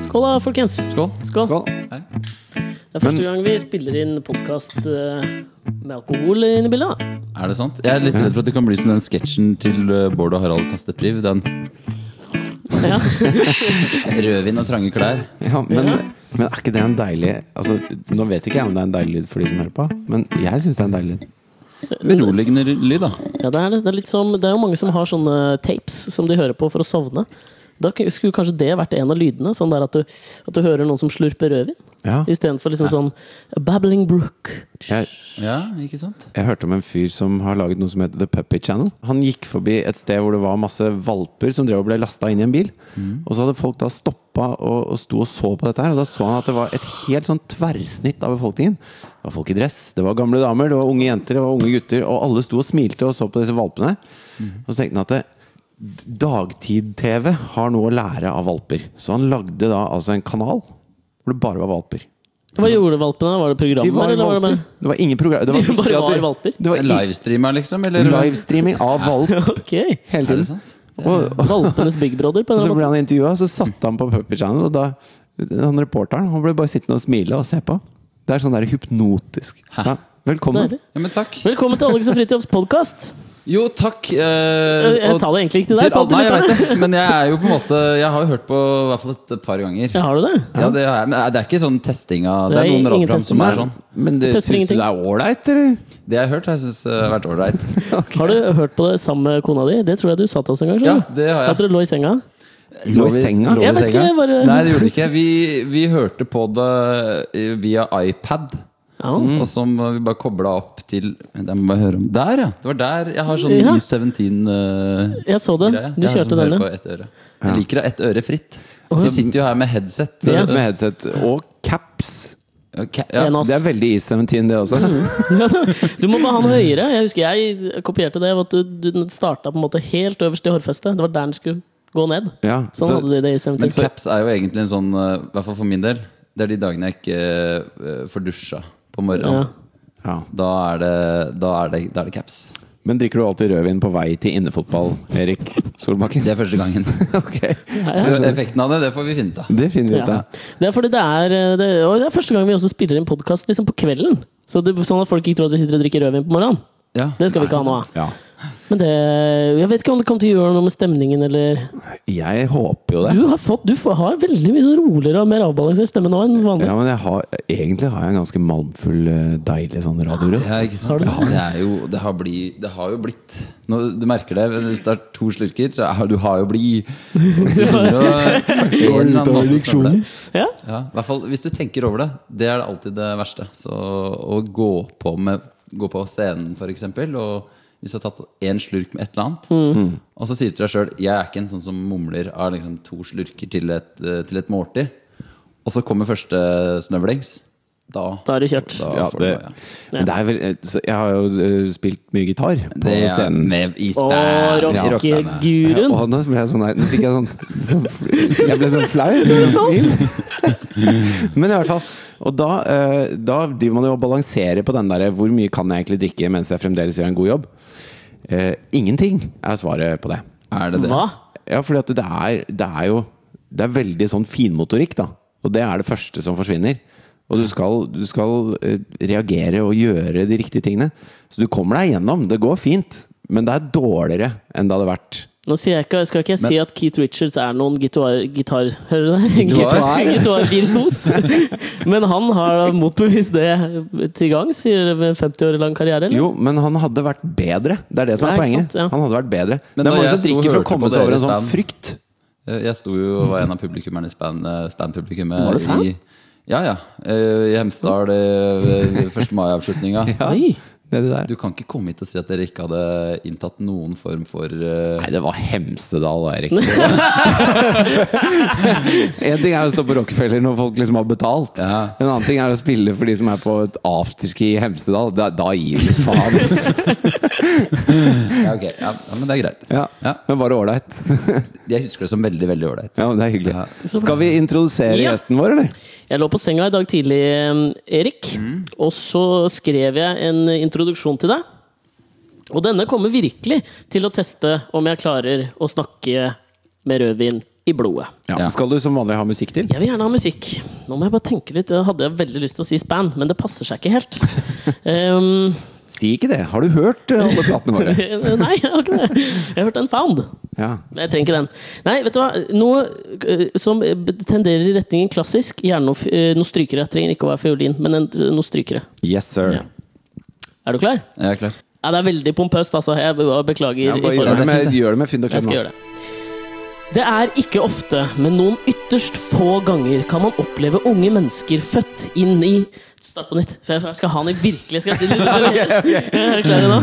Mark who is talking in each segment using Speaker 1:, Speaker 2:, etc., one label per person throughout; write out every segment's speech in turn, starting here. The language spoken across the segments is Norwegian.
Speaker 1: Skål da, folkens.
Speaker 2: Skål.
Speaker 1: Skål.
Speaker 3: Skål.
Speaker 1: Det er første
Speaker 3: Men-
Speaker 1: gang vi spiller inn podkast med alkohol inn i bildet. da.
Speaker 2: Er det sant? Jeg er litt redd for at det kan bli som den sketsjen til eh, Bård og Harald Tastepriv. Den
Speaker 1: Ja.
Speaker 2: rødvin og trange klær.
Speaker 3: Ja, men, men er ikke det en deilig altså, Nå vet ikke jeg om det er en deilig lyd for de som hører på, men jeg syns det er en deilig lyd.
Speaker 2: Beroligende lyd, da.
Speaker 1: Ja, det er det. Det er, litt som, det er jo mange som har sånne tapes som de hører på for å sovne. Da k- skulle kanskje det vært en av lydene. Sånn der at du, at du hører noen som slurper rødvin.
Speaker 3: Ja.
Speaker 1: Istedenfor liksom sånn A Babbling Brook.
Speaker 3: Jeg,
Speaker 2: Ja, ikke sant?
Speaker 3: jeg hørte om en fyr som har laget noe som heter The Puppy Channel. Han gikk forbi et sted hvor det var masse valper som drev og ble lasta inn i en bil.
Speaker 1: Mm.
Speaker 3: Og så hadde folk da stoppa og, og sto og så på dette her, og da så han at det var et helt sånn tverrsnitt av befolkningen. Det var folk i dress, det var gamle damer, det var unge jenter, det var unge gutter, og alle sto og smilte og så på disse valpene.
Speaker 1: Mm.
Speaker 3: Og så tenkte han at det, Dagtid-TV har noe å lære av valper. Så han lagde da altså en kanal hvor det bare var valper.
Speaker 1: Hva gjorde valpene? Var det program?
Speaker 3: De var
Speaker 1: eller var det
Speaker 3: valper.
Speaker 1: bare
Speaker 3: Det var ingen program. Det var,
Speaker 1: De bare
Speaker 3: viktig at
Speaker 1: var
Speaker 3: det-
Speaker 1: valper.
Speaker 3: Det var i-
Speaker 2: Livestreamer, liksom? Eller?
Speaker 3: livestreaming av valp
Speaker 1: Ok!
Speaker 3: hele
Speaker 2: Er det
Speaker 3: tiden.
Speaker 2: sant?
Speaker 3: Og, og
Speaker 1: Valpenes Big Brother. På
Speaker 3: så
Speaker 1: den
Speaker 3: ble
Speaker 1: måten.
Speaker 3: han intervjua, så satte han på Puppy Channel, og da han reporteren han ble bare sittende og smile og se på. Det er sånn der hypnotisk.
Speaker 2: Hæ?
Speaker 3: Ja, velkommen.
Speaker 1: Deilig.
Speaker 2: Ja, men takk.
Speaker 1: Velkommen til Alex og Fridtjofs podkast.
Speaker 2: Jo, takk. eh,
Speaker 1: Jeg, jeg
Speaker 2: og-
Speaker 1: sa det egentlig ikke til deg. sa
Speaker 2: Til-
Speaker 1: jeg til
Speaker 2: Nei, jeg
Speaker 1: lytterne.
Speaker 2: vet det. Men jeg er jo på en måte Jeg har jo hørt på i hvert fall et par ganger.
Speaker 1: Ja, har du det?
Speaker 2: Ja, det har jeg. Men det er ikke sånn testing av Det
Speaker 1: Nei,
Speaker 2: er noen
Speaker 1: ingen
Speaker 2: radioprogram som er
Speaker 1: testing.
Speaker 2: sånn.
Speaker 3: Men
Speaker 1: Tester
Speaker 3: det syns du
Speaker 1: ingenting.
Speaker 3: det er ålreit, eller?
Speaker 2: Det jeg har hørt, har jeg syns har vært ålreit.
Speaker 1: Har du hørt på det sammen med kona di? Det tror jeg du sa til oss en gang.
Speaker 2: Ja,
Speaker 1: skjønner du?
Speaker 2: det har jeg.
Speaker 1: At dere lå i senga?
Speaker 3: Lå i senga?
Speaker 1: Jeg vet ikke, jeg bare-
Speaker 2: Nei, det gjorde det ikke. Vi, vi hørte på det eh, via iPad.
Speaker 1: Ja.
Speaker 2: Og som vi bare kobla opp til Jeg må bare høre om Der, ja! Det var der jeg har sånn eh,
Speaker 1: Ja.
Speaker 2: U17-greie.
Speaker 1: Jeg så det. Du kjørte
Speaker 2: denne.
Speaker 1: denne.
Speaker 2: Jeg liker å ha ett øre fritt. Så sitter jo her med headset.
Speaker 3: Du sitter sånn med headset og caps.
Speaker 2: Ok, ja.
Speaker 1: En av-
Speaker 3: Det er veldig E17, det også.
Speaker 1: Du må bare ha den høyere. Jeg husker jeg kopierte det. At du, du starta på en måte helt øverst i hårfestet. Det var der den skulle gå ned.
Speaker 3: Ja,
Speaker 1: Sånn
Speaker 3: så-
Speaker 1: hadde de det i
Speaker 2: Men
Speaker 1: Seventeen.
Speaker 2: caps er jo egentlig en sånn eh, I hvert fall for min del. Det er de dagene jeg ikke eh, får dusja på
Speaker 1: Ja.
Speaker 2: morgenen.
Speaker 3: Ja.
Speaker 2: Da, er det, da, er det, da er det caps.
Speaker 3: Men drikker du alltid rødvin på vei til innefotball, Erik Solbakken?
Speaker 2: Det er første gangen.
Speaker 3: Ok,
Speaker 2: Så Effekten av det, det får vi finne ut av.
Speaker 3: det finner vi ut
Speaker 1: Ja.
Speaker 3: av.
Speaker 1: Det er fordi det er eh, det, Og det er første gang vi også spiller inn podkast liksom på kvelden. Så det, sånn at folk ikke tror at vi sitter og drikker rødvin på morgenen.
Speaker 2: Ja.
Speaker 1: Det skal vi ikke ha nå.
Speaker 3: Ja.
Speaker 1: Men det, jeg vet ikke om det kommer til å gjøre noe med stemningen, eller
Speaker 3: Jeg håper jo det.
Speaker 1: Du har, fått, du får, har veldig mye sånn roligere og mer avbalansert stemme nå enn vanlig.
Speaker 3: Ja, men jeg har, egentlig har jeg en ganske malmfull, eh, deilig sånn radiorøst.
Speaker 2: Ja, ikke sant? Det, er jo, det, har bli, det har jo blitt nå, Du merker det, men hvis det er to slurker, så er, du har jo bli Går
Speaker 3: litt over diksjonen?
Speaker 1: Ja.
Speaker 2: Ja, i hvert fall Hvis du tenker over det, det er alltid det verste. Så å gå på, med, gå på scenen, f.eks., og hvis du har tatt én slurk med et eller annet,
Speaker 3: Mm.
Speaker 2: og så sier du til deg sjøl Jeg er ikke en sånn som mumler av liksom to slurker til et, eh, til et måltid, og så kommer første snøvlings. Da,
Speaker 1: Da er det kjørt.
Speaker 2: da
Speaker 3: Ja,
Speaker 2: får du
Speaker 3: det,
Speaker 2: noe, ja.
Speaker 3: men det er vel, eh, så jeg har jo eh, spilt mye gitar på
Speaker 2: Det er
Speaker 3: scenen.
Speaker 2: Med i
Speaker 1: Å,
Speaker 2: span-
Speaker 3: Ja. Ja,
Speaker 1: rockeguruen!
Speaker 3: og nå ble jeg sånn her Nå fikk jeg sånn, sånn Jeg ble sånn flau. Men i hvert fall. Og da, eh, da driver man jo og balanserer på den derre hvor mye kan jeg egentlig drikke mens jeg fremdeles gjør en god jobb? Eh, ingenting er svaret på det.
Speaker 2: Er det det?
Speaker 1: Hva?
Speaker 3: Ja, fordi at det er, det er jo Det er veldig sånn finmotorikk, da. Og det er det første som forsvinner. Og du skal, du skal eh, reagere og gjøre de riktige tingene. Så du kommer deg gjennom. Det går fint. Men det er dårligere enn det hadde vært.
Speaker 1: Nå sier jeg ikke, skal ikke jeg si at Keith Richards er noen gitar... gitar hører du det?
Speaker 2: Gitar?
Speaker 1: gitar virtuos. Men han har da motbevist det til gangs i en 50 år lang karriere. Eller?
Speaker 3: Jo, men han hadde vært bedre. Det er det som
Speaker 1: Ja,
Speaker 3: er
Speaker 1: ikke
Speaker 3: poenget.
Speaker 1: sant, ja.
Speaker 3: Han hadde vært bedre.
Speaker 2: Men da
Speaker 3: det er mange
Speaker 2: jeg
Speaker 3: som
Speaker 2: sto og
Speaker 3: drikker for
Speaker 2: hørte
Speaker 3: å komme
Speaker 2: på
Speaker 3: seg over
Speaker 2: deres
Speaker 3: en sånn
Speaker 2: band-
Speaker 3: frykt.
Speaker 2: Eh, Jeg sto jo og var en av publikummerne i span, eh, Span-publikummet.
Speaker 1: Var du fan?
Speaker 2: i- Ja, ja. Eh, I Hemsedal eh, ved 1. mai-avslutninga.
Speaker 1: Oi.
Speaker 3: Det er det der.
Speaker 2: Du kan ikke komme hit og si at dere ikke hadde inntatt noen form for eh,
Speaker 3: Nei, det var Hemsedal, da, Erik. en ting er å stå på Rockefeller når folk liksom har betalt.
Speaker 2: Ja.
Speaker 3: En annen ting er å spille for de som er på et afterski i Hemsedal. Da, da gir du faen.
Speaker 2: ja, ok. ja, ja, men det er greit.
Speaker 3: Ja.
Speaker 2: Ja.
Speaker 3: Men var det ålreit?
Speaker 2: Jeg husker det som veldig, veldig ålreit.
Speaker 3: Ja, men det er hyggelig.
Speaker 2: Ja.
Speaker 3: Skal vi introdusere
Speaker 1: Ja.
Speaker 3: gjesten vår, eller?
Speaker 1: Jeg lå på senga i dag tidlig, eh, Erik, og så skrev jeg en introduksjon til deg. Og denne kommer virkelig til å teste om jeg klarer å snakke med rødvin i blodet.
Speaker 3: Ja.
Speaker 2: Ja.
Speaker 3: Skal du som vanlig ha musikk til?
Speaker 1: Jeg vil gjerne ha musikk. Nå må jeg bare tenke litt. Jeg hadde veldig lyst til å si span, men det passer seg ikke helt. Ehm,
Speaker 3: Si ikke det! Har du hørt eh, alle platene våre?
Speaker 1: nei, jeg har ikke det. Jeg hørte en found.
Speaker 3: Ja.
Speaker 1: Men Jeg trenger ikke den. Nei, vet du hva? Noe øh, som tenderer i retningen klassisk. Gjerne noe, f- øh, noe strykere. Trenger ikke å være fiolin, men en, noe strykere.
Speaker 3: Yes, sir.
Speaker 1: Ja. Er du klar?
Speaker 2: Jeg er klar.
Speaker 1: Ja, det er veldig pompøst, altså. Jeg be- beklager.
Speaker 3: Ja,
Speaker 1: i
Speaker 3: bare
Speaker 1: forhånd.
Speaker 3: gjør det med,
Speaker 2: fint, det.
Speaker 3: gjør det med fynd og
Speaker 1: Jeg
Speaker 3: klem.
Speaker 1: skal
Speaker 3: nå.
Speaker 1: gjøre det. Det er ikke ofte, men noen ytterst få ganger kan man oppleve unge mennesker født inn i Start på nytt, for jeg skal ha den i virkelig jeg skal... Er du klare nå?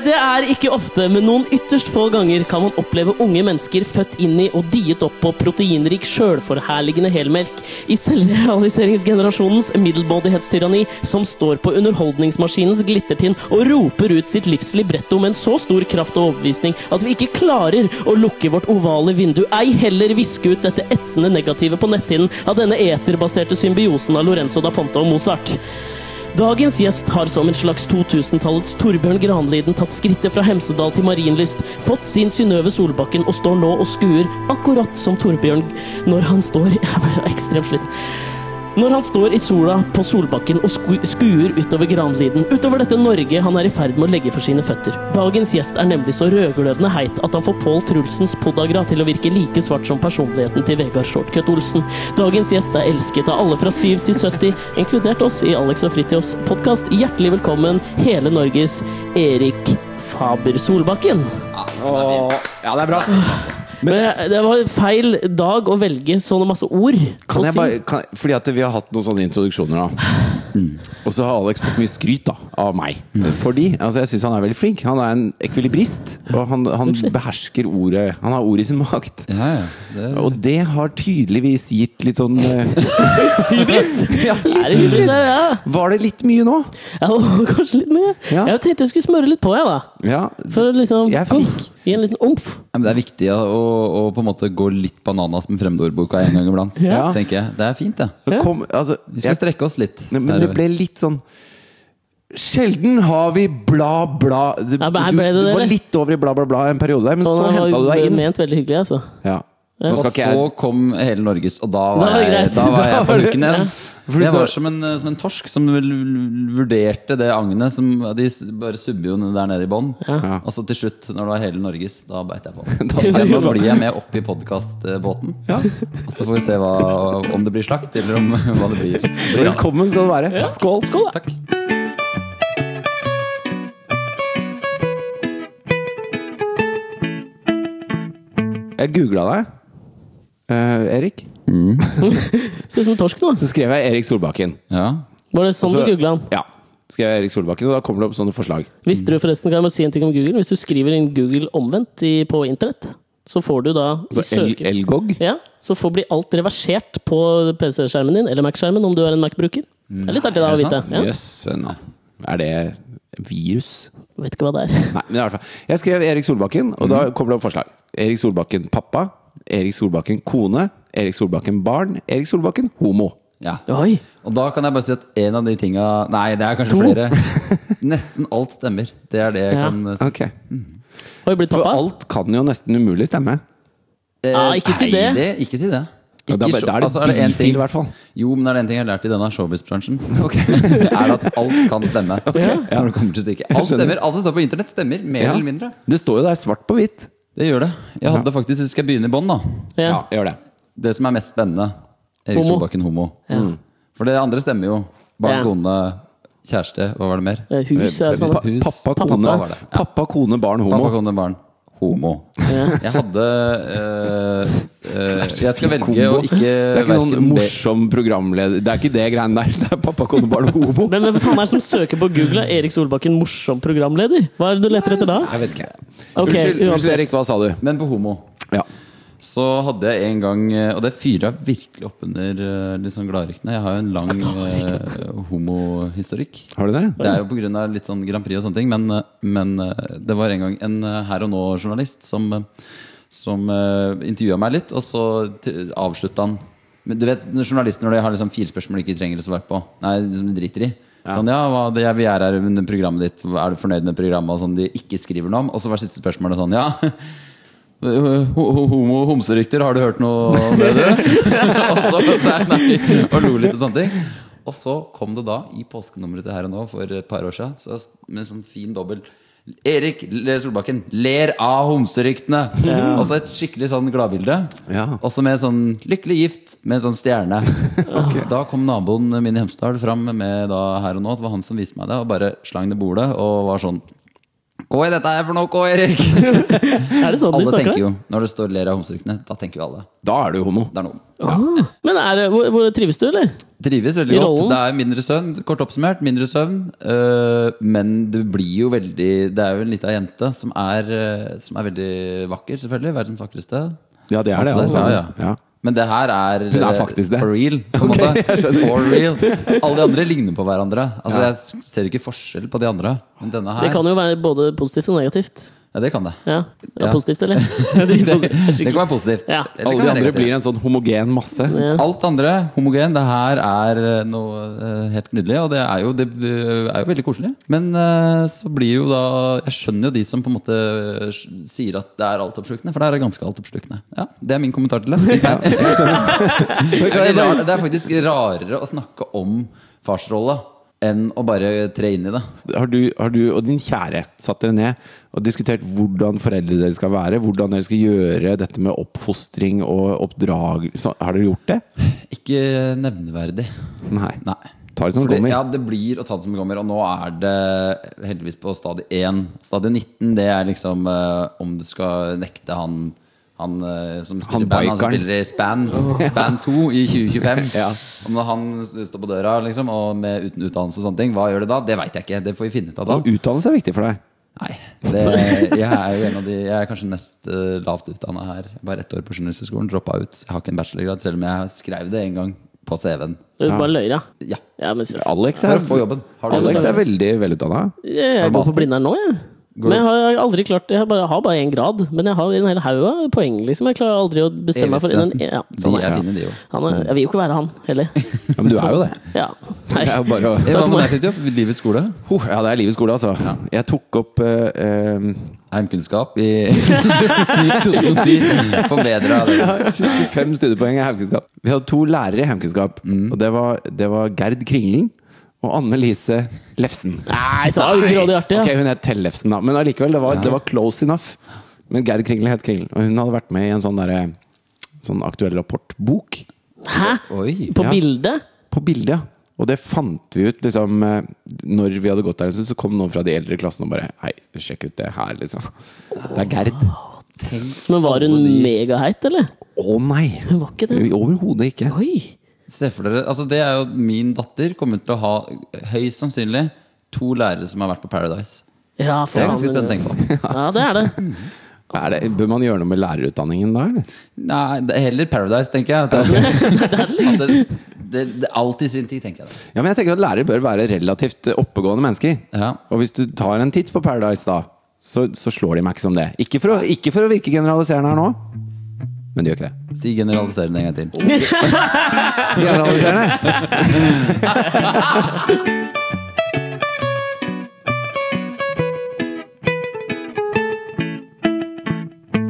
Speaker 1: Det er ikke ofte, men noen ytterst få ganger kan man oppleve unge mennesker født inn i og diet opp på proteinrik, sjølforherligende helmelk i selvrealiseringsgenerasjonens middelmådighetstyranni som står på underholdningsmaskinens glittertinn og roper ut sitt livs libretto med en så stor kraft og overbevisning at vi ikke klarer å lukke vårt ovale vindu, ei heller viske ut dette etsende negativet på netthinnen av denne eterbaserte symbiosen av Lorenzo da Ponte og Mozart. Dagens gjest har som en slags 2000-tallets Torbjørn Granliden tatt skrittet fra Hemsedal til Marienlyst, fått sin Synnøve Solbakken og står nå og skuer, akkurat som Torbjørn når han står Jeg ble så ekstremt sliten. Når han står i sola på Solbakken og sku skuer utover Granliden, utover dette Norge han er i ferd med å legge for sine føtter. Dagens gjest er nemlig så rødglødende heit at han får Pål Trulsens podagra til å virke like svart som personligheten til Vegard Shortcut Olsen. Dagens gjest er elsket av alle fra 7 til 70, inkludert oss i Alex og Fritjofs podkast. Hjertelig velkommen, hele Norges Erik Faber Solbakken.
Speaker 3: Åh, ja, det er bra.
Speaker 1: Men jeg- det var feil dag å velge sånne masse ord. å
Speaker 3: Kan jeg
Speaker 1: si.
Speaker 3: bare, kan, fordi at vi har hatt noen sånne introduksjoner da. Og så har Alex fått mye skryt da, av meg. Fordi altså, jeg syns han er veldig flink. Han er en ekvilibrist. Og han, han behersker ordet. Han har ordet i sin makt.
Speaker 2: Ja, ja. Det er
Speaker 3: Og det har tydeligvis gitt litt sånn eh,
Speaker 1: Hybris!
Speaker 3: ja,
Speaker 1: Er det hybris her, ja?
Speaker 3: Var det litt mye nå?
Speaker 1: Ja, det var kanskje litt mye.
Speaker 3: Ja.
Speaker 1: Jeg tenkte jeg skulle smøre litt på, jeg, da.
Speaker 3: Ja.
Speaker 1: For å liksom
Speaker 3: Jeg fikk-
Speaker 1: Gi en liten omf.
Speaker 2: Ja, men det er viktig å, å, å på en måte gå litt bananas med fremmedordboka en gang iblant.
Speaker 3: Ja.
Speaker 2: tenker jeg. Det er fint, det.
Speaker 3: det Kom, altså,
Speaker 2: Vi skal
Speaker 3: jeg,
Speaker 2: strekke oss litt.
Speaker 3: Nei, men det
Speaker 2: herover.
Speaker 3: ble litt sånn Sjelden har vi bla, bla Du,
Speaker 1: Ja,
Speaker 3: du,
Speaker 1: men her
Speaker 3: du
Speaker 1: ble det det,
Speaker 3: var
Speaker 1: eller?
Speaker 3: litt over i bla, bla, bla en periode der, men
Speaker 1: Og
Speaker 3: så
Speaker 1: den var
Speaker 3: henta du deg inn.
Speaker 1: Ment veldig hyggelig, altså.
Speaker 3: Ja. Nå skal
Speaker 2: Og
Speaker 3: ikke jeg
Speaker 2: så kom hele Norges, og
Speaker 1: Da
Speaker 2: da var
Speaker 1: var det
Speaker 2: jeg,
Speaker 1: greit.
Speaker 2: da var jeg på
Speaker 3: var det-
Speaker 2: luken igjen.
Speaker 3: For du
Speaker 2: Jeg
Speaker 3: sa-
Speaker 2: var som en, som en torsk som vel vurderte det agnet. Som de s- bare subber jo der nede i bånn. Og så til slutt, når det var hele Norges, da beit jeg på.
Speaker 3: beit du
Speaker 2: Nå
Speaker 3: på.
Speaker 2: blir jeg med opp i podkastbåten. Og så får vi se hva, om det blir slakt, eller om hva det blir. blir av.
Speaker 3: Velkommen skal du være. Skål.
Speaker 1: Skål, da!
Speaker 2: Takk.
Speaker 3: Jeg googla deg, eh, Erik.
Speaker 1: Ser ut som en torsk nå.
Speaker 3: Så skrev jeg Erik Solbakken.
Speaker 2: Ja.
Speaker 1: Var det sånn
Speaker 3: Så-
Speaker 1: du googla han?
Speaker 3: Ja. Skrev jeg Erik Solbakken, og da kommer det opp sånne forslag.
Speaker 1: Visste du forresten, kan jeg bare si en ting om Google? Hvis du skriver inn Google omvendt i, på internett, så får du da i
Speaker 3: Altså El-
Speaker 1: søker-
Speaker 3: Elgog.
Speaker 1: Ja, så får blir alt reversert på PC-skjermen din, eller Mac-skjermen, om du er en Mac-bruker. Det er litt artig da
Speaker 3: Mm.
Speaker 1: å
Speaker 2: er det
Speaker 1: vite.
Speaker 2: sant?
Speaker 1: Ja.
Speaker 3: Jøss. nå. Er det virus?
Speaker 1: Vet ikke hva det er.
Speaker 3: Nei, men i hvert fall. Jeg skrev Erik Solbakken, og da kommer det opp forslag. Erik Solbakken pappa. Erik Solbakken kone. Erik Solbakken barn. Erik Solbakken homo.
Speaker 2: ja.
Speaker 1: Oi!
Speaker 2: Og da kan jeg bare si at en av de tinga Nei, det er kanskje flere. Nesten alt stemmer. Det er det jeg
Speaker 1: Ja.
Speaker 2: kan eh, si.
Speaker 3: Ok.
Speaker 1: Har jeg blitt
Speaker 3: For
Speaker 1: pappa?
Speaker 3: alt kan jo nesten umulig stemme.
Speaker 2: Eh,
Speaker 1: Ah, ikke si
Speaker 2: nei,
Speaker 1: det.
Speaker 2: Ikke si det.
Speaker 3: Ja, da-
Speaker 2: Ikke
Speaker 3: da er det
Speaker 2: så- altså, en
Speaker 3: bifil
Speaker 2: ting-
Speaker 3: i hvert fall.
Speaker 2: Jo, men det er det en ting jeg har lært i denne showbiz-bransjen. Det er at alt kan stemme. Når det kommer til stykket. Alt
Speaker 3: skjønner.
Speaker 2: stemmer, alt som står på internett, stemmer. Mer
Speaker 3: Ja.
Speaker 2: eller mindre.
Speaker 3: Det står jo der svart på hvitt.
Speaker 2: Det gjør det. Jeg hadde faktisk, hvis jeg skal begynne i bånn, da.
Speaker 1: Ja.
Speaker 3: gjør det.
Speaker 2: Det som er mest spennende. Erik
Speaker 1: Homo.
Speaker 2: Solbakken homo.
Speaker 3: Mm.
Speaker 2: For det andre stemmer jo.
Speaker 1: Ja.
Speaker 2: Barn, kone, kjæreste. Hva var det mer?
Speaker 1: Eh, Hus er
Speaker 3: Pa
Speaker 1: sånn.
Speaker 2: Hus.
Speaker 3: pappa,
Speaker 2: Pappa,
Speaker 3: kone,
Speaker 2: var det.
Speaker 3: pappa, kone, barn, homo.
Speaker 2: Pappa, kone, barn. Homo. Jeg hadde eh, eh, Jeg skal velge å
Speaker 3: Kombo.
Speaker 2: ikke
Speaker 3: det er ikke noen
Speaker 2: hverken be-
Speaker 3: morsom programleder Det er ikke det greiene der. Det er pappa, kone, barn, homo.
Speaker 1: Men hvem faen er det som søker på Google? Er Erik Solbakken morsom programleder? Hva er det du leter etter da?
Speaker 3: Jeg vet ikke.
Speaker 1: Ok,
Speaker 3: unnskyld,
Speaker 1: uansett.
Speaker 3: unnskyld, Erik, hva sa du?
Speaker 2: Men på homo.
Speaker 3: Ja.
Speaker 2: Så hadde jeg en gang eh, Og det fyra virkelig opp under eh, litt sånn gladryktene. Jeg har jo en lang eh, homohistorikk.
Speaker 3: Har du det?
Speaker 2: Det er jo pga. litt sånn Grand Prix og sånne ting, men, eh, men eh, det var en gang en eh, Her og Nå-journalist som, eh, som intervjua meg litt, og så t- avslutta han Men du vet, når journalister når de har liksom fire spørsmål de ikke trenger å svare på, Nei, som de driter i. Sånn, ja, hva, det, Vi er her under programmet ditt, er du fornøyd med programmet? Og sånn, de ikke skriver noe om. Og så var siste spørsmålet sånn, ja. eh, ho- ho- Homo homserykter, har du hørt noe om det, du? og så sa jeg nei, og lo litt og sånne ting. Og så kom det da, i påskenummeret til Her og Nå for et par år siden, så, med en sånn fin dobbel Erik Le- Solbakken ler av homseryktene! Og så et skikkelig sånn gladbilde.
Speaker 3: Ja.
Speaker 2: Også med sånn 'lykkelig gift' med en sånn stjerne. Da kom naboen min i Hemsedal fram med da her og nå. Det var han som viste meg det, og bare slang det i bordet og var sånn Hva er dette her for noe, K. Erik?
Speaker 1: Er det sånn de
Speaker 2: Alle
Speaker 1: snakker?
Speaker 2: tenker
Speaker 1: da?
Speaker 2: jo, når det står 'ler av homseryktene', da tenker jo alle.
Speaker 3: Da er du homo.
Speaker 2: Det er noen.
Speaker 1: Ah, men er det, hvor, hvor trives du, eller?
Speaker 2: Trives veldig
Speaker 1: I
Speaker 2: godt.
Speaker 1: rollen?
Speaker 2: Det er mindre søvn, kort oppsummert. Mindre søvn. øh, men det blir jo veldig Det er jo en lita jente som er, øh, som er veldig vakker, selvfølgelig. Verdens vakreste.
Speaker 3: Ja, det er det. Altså.
Speaker 2: Ja, ja.
Speaker 3: Ja.
Speaker 2: Men det her er,
Speaker 3: Hun er
Speaker 2: eh,
Speaker 3: faktisk det.
Speaker 2: for real. På en måte. For real Alle de andre ligner på hverandre. Altså Jeg s- ser ikke forskjell på de andre. Men denne her
Speaker 1: Det kan jo være både positivt og negativt.
Speaker 2: ja, det, kan det.
Speaker 1: Ja, ja
Speaker 2: Ja.
Speaker 1: positivt, eller?
Speaker 2: det.
Speaker 1: Dritpositivt.
Speaker 2: Det kan
Speaker 1: Skikkelig.
Speaker 2: være positivt.
Speaker 1: Ja.
Speaker 2: Eller
Speaker 3: Alle
Speaker 2: kan
Speaker 3: de
Speaker 2: være
Speaker 3: andre
Speaker 2: negativt.
Speaker 3: blir en sånn homogen masse.
Speaker 1: Ja.
Speaker 2: Alt andre homogen. Det her er eh, noe eh, helt nydelig, og det er jo, det eh, er jo veldig koselig. Men eh, så blir jo da Jeg skjønner jo de som på en måte eh, s- sier at det er altoppslukende, for det er ganske altoppslukende. Ja, Det er min kommentar til det. det, er veldig rar- det er faktisk rarere å snakke om farsrolla enn å bare tre inn i det.
Speaker 3: Har du, har du og din kjære satt dere ned og diskutert hvordan foreldre dere skal være? Hvordan dere skal gjøre dette med oppfostring og oppdragelse? Har dere gjort det?
Speaker 2: Ikke nevneverdig.
Speaker 3: Nei.
Speaker 2: Nei.
Speaker 3: Ta det som
Speaker 2: Fordi-
Speaker 3: kommer.
Speaker 2: Ja, det blir å ta det som det kommer. Og nå er det heldigvis på stadie 1. Stadie 19, det er liksom eh, om du skal nekte han han eh, som spiller
Speaker 3: Han
Speaker 2: i band, han som
Speaker 3: bikeren.
Speaker 2: spiller i Span, Span 2 i 2025.
Speaker 3: Ja.
Speaker 2: Om når han står på døra liksom, og med uten utdannelse og sånne ting, hva gjør du da? Det veit jeg ikke. Det får vi finne ut av da.
Speaker 3: Og utdannelse er viktig for deg.
Speaker 2: Nei. Det, jeg er jo en av de Jeg er kanskje den mest eh, lavt utdanna her. Jeg var ett år på Journalisthøgskolen, droppa ut. Jeg har ikke en bachelorgrad, selv om jeg skrev det en gang på CV-en.
Speaker 1: Du bare løy, ja.
Speaker 2: Ja.
Speaker 1: ja men, jeg,
Speaker 3: Alex
Speaker 2: For
Speaker 3: er,
Speaker 2: å få jobben. Har du
Speaker 3: Alex er veldig velutdanna.
Speaker 1: jeg går på Blindern nå, jeg. Men jeg har aldri klart Jeg har bare, jeg har bare én grad, men jeg har en hel haug av poeng, liksom. Jeg klarer aldri å bestemme meg for en.
Speaker 2: Evigstudenten.
Speaker 1: Ja,
Speaker 2: de
Speaker 1: sånn
Speaker 2: er
Speaker 1: er.
Speaker 2: fine, de òg.
Speaker 1: Han er, jeg vil jo ikke være han, heller.
Speaker 3: Ja, men du er jo det.
Speaker 1: Ja. Nei.
Speaker 3: Det er jo bare å
Speaker 2: Hva
Speaker 1: for
Speaker 2: med
Speaker 1: meg.
Speaker 2: deg, Fridtjof? Livets skole?
Speaker 3: Huh, Ja, det er livets skole, altså. Jeg tok opp eh, eh,
Speaker 2: Heimkunnskap i 2010. Forbedra det.
Speaker 3: 25 studiepoeng i heimkunnskap. Vi hadde to lærere i heimkunnskap. Og det var, det var Gerd Kringlen og Anne Lise Lefsen.
Speaker 1: Nei, så var det jo grådig artig, ja.
Speaker 3: Ok, hun het Tellefsen, da. Men allikevel, det var, det var close enough. Men Gerd Kringlen het Kringlen. Og hun hadde vært med i en sånn, derre- sånn aktuell rapportbok.
Speaker 1: Hæ?
Speaker 2: Oi.
Speaker 1: På
Speaker 3: Ja.
Speaker 1: bildet?
Speaker 3: På bildet, ja. Og det fant vi ut liksom eh, Når vi hadde gått der en stund, så kom noen fra de eldre i klassen og bare Hei, sjekk ut det her, liksom. Det er Gerd.
Speaker 1: Men var hun megaheit, eller?
Speaker 3: Å nei!
Speaker 1: Hun var ikke det.
Speaker 3: Overhodet ikke.
Speaker 1: Oi!
Speaker 2: Se for dere, altså det er jo min datter kommer til å ha høyst sannsynlig to lærere som har vært på Paradise.
Speaker 1: Ja, for
Speaker 2: Det er ganske
Speaker 1: faen.
Speaker 2: spennende å tenke på.
Speaker 1: Ja, det er det.
Speaker 3: Er det, bør man gjøre noe med lærerutdanningen da, eller?
Speaker 2: Nei, det er heller Paradise, tenker jeg. At det, at det, det, det er alltid sin tid, tenker jeg.
Speaker 3: Ja, men jeg tenker at lærere bør være relativt eh, oppegående mennesker.
Speaker 2: Ja.
Speaker 3: Og hvis du tar en titt på Paradise da, så, så slår de meg ikke som det. Ikke for, å, ikke for å virke generaliserende her nå, men de gjør ikke det.
Speaker 2: Si generaliserende en gang til.
Speaker 3: Generaliserende?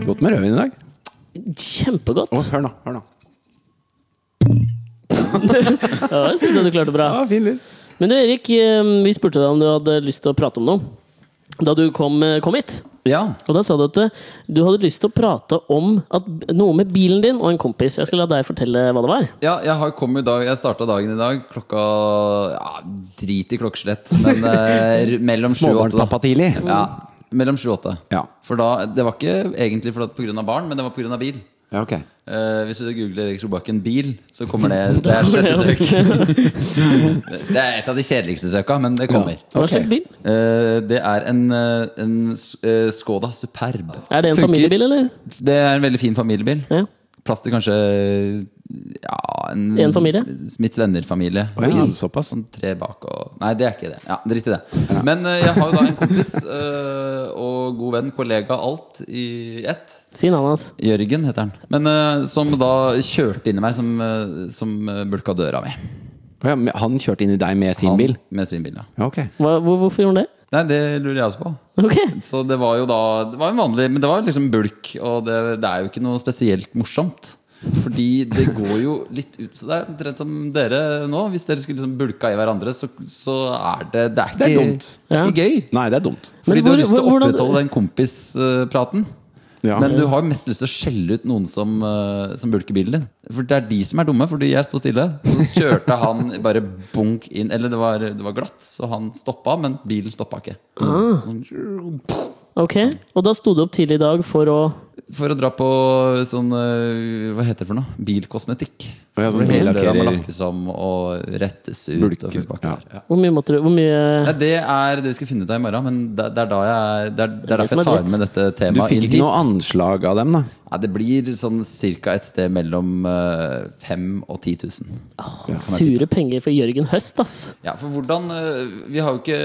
Speaker 3: Godt med rødvin i dag.
Speaker 1: Kjempegodt.
Speaker 3: Å, hør nå, hør nå.
Speaker 1: Ja, jeg synes det du klarte bra.
Speaker 3: Ja, fin lyd.
Speaker 1: Men du, Erik, eh, vi spurte deg om du hadde lyst til å prate om noe da du kom, eh, kom hit.
Speaker 2: Ja.
Speaker 1: Og da sa du at eh, du hadde lyst til å prate om at, noe med bilen din og en kompis. Jeg skal la deg fortelle hva det var.
Speaker 2: Ja, jeg har kommet i dag Jeg starta dagen i dag klokka ja, Drit i klokkeslett, men eh, mellom sju og åtte. da.
Speaker 3: Småbarnspappa tidlig.
Speaker 2: Ja, mellom 7 og 8
Speaker 3: Ja.
Speaker 2: For da, det var ikke egentlig for at på grunn av barn Men det var på grunn av bil
Speaker 3: Ja, ok.
Speaker 2: Eh, Hvis du googler Erik Solbakken bil Så kommer det, det er sjette søk Det er et av de kjedeligste søka Men det kommer
Speaker 1: Hva
Speaker 3: Ok.
Speaker 1: slags bil?
Speaker 2: Eh, Det er en, eh, en s- eh, Skoda Superb
Speaker 1: Er det en
Speaker 2: Funker-
Speaker 1: familiebil, eller?
Speaker 2: Det er en veldig fin familiebil
Speaker 1: Ja.
Speaker 2: Plass til kanskje ja, en,
Speaker 1: En familie?
Speaker 2: Smiths venner-familie.
Speaker 3: Oi, ja, såpass.
Speaker 2: Sånn tre bak og Nei, det er ikke det. Ja, Drit i det. Men eh, jeg har jo da en kompis eh, og god venn, kollega, alt i ett.
Speaker 1: Si navnet hans.
Speaker 2: Jørgen heter han. Men eh, som da kjørte inn i meg, som, eh, som eh, bulka døra mi.
Speaker 3: Å Ja, men han kjørte inn i deg med sin
Speaker 2: Han
Speaker 3: bil?
Speaker 2: Med sin bil, ja.
Speaker 3: Ja, ok.
Speaker 1: Hva, hvor, hvorfor gjorde han det?
Speaker 2: Nei, det lurer jeg også på.
Speaker 1: Ok,
Speaker 2: Så det var jo da Det var en vanlig, men det var jo liksom bulk, og det, det er jo ikke noe spesielt morsomt. Fordi det går jo litt ut Så det er omtrent som dere nå. Hvis dere skulle liksom bulka i hverandre, så, så er det Det er ikke,
Speaker 3: Det er dumt.
Speaker 2: Det er ikke gøy.
Speaker 3: Nei, det er dumt.
Speaker 1: Men
Speaker 2: Fordi
Speaker 1: hvor-
Speaker 2: du har lyst til å
Speaker 1: hvor- hvordan-
Speaker 2: opprettholde den kompispraten.
Speaker 3: Ja.
Speaker 2: Men du har jo mest lyst til å skjelle ut noen som, eh, som bulker bilen din. For det er de som er dumme, fordi jeg sto stille. Så kjørte han bare bunk inn. Eller det var, det var glatt, så han stoppa, men bilen stoppa ikke. Sånn-
Speaker 1: ok. Og da sto du opp tidlig i dag for å
Speaker 2: For å dra på sånn eh, Hva heter det for noe? Bilkosmetikk.
Speaker 3: Å ja, sånn
Speaker 2: Hvor hele døra må
Speaker 3: markerer-
Speaker 2: lakkes om og rettes ut.
Speaker 3: Bulker,
Speaker 2: og full pakke
Speaker 3: ja.
Speaker 2: der. Ja.
Speaker 1: Hvor mye måtte du Hvor mye
Speaker 2: Nei, det er det vi skal finne ut av i morgen, men det, det er da jeg er- Det er, det er
Speaker 1: det som
Speaker 2: derfor
Speaker 1: er
Speaker 2: jeg tar
Speaker 1: dritt.
Speaker 2: med dette
Speaker 3: Du
Speaker 2: temaet
Speaker 3: fikk
Speaker 2: inn
Speaker 3: ikke
Speaker 2: hit.
Speaker 3: noe anslag av dem, da?
Speaker 2: Nei, det blir sånn ca. et sted mellom 5000 og 10 000.
Speaker 1: Sure penger for Jørgen Høst, ass.
Speaker 2: Ja, for hvordan eh, Vi har jo ikke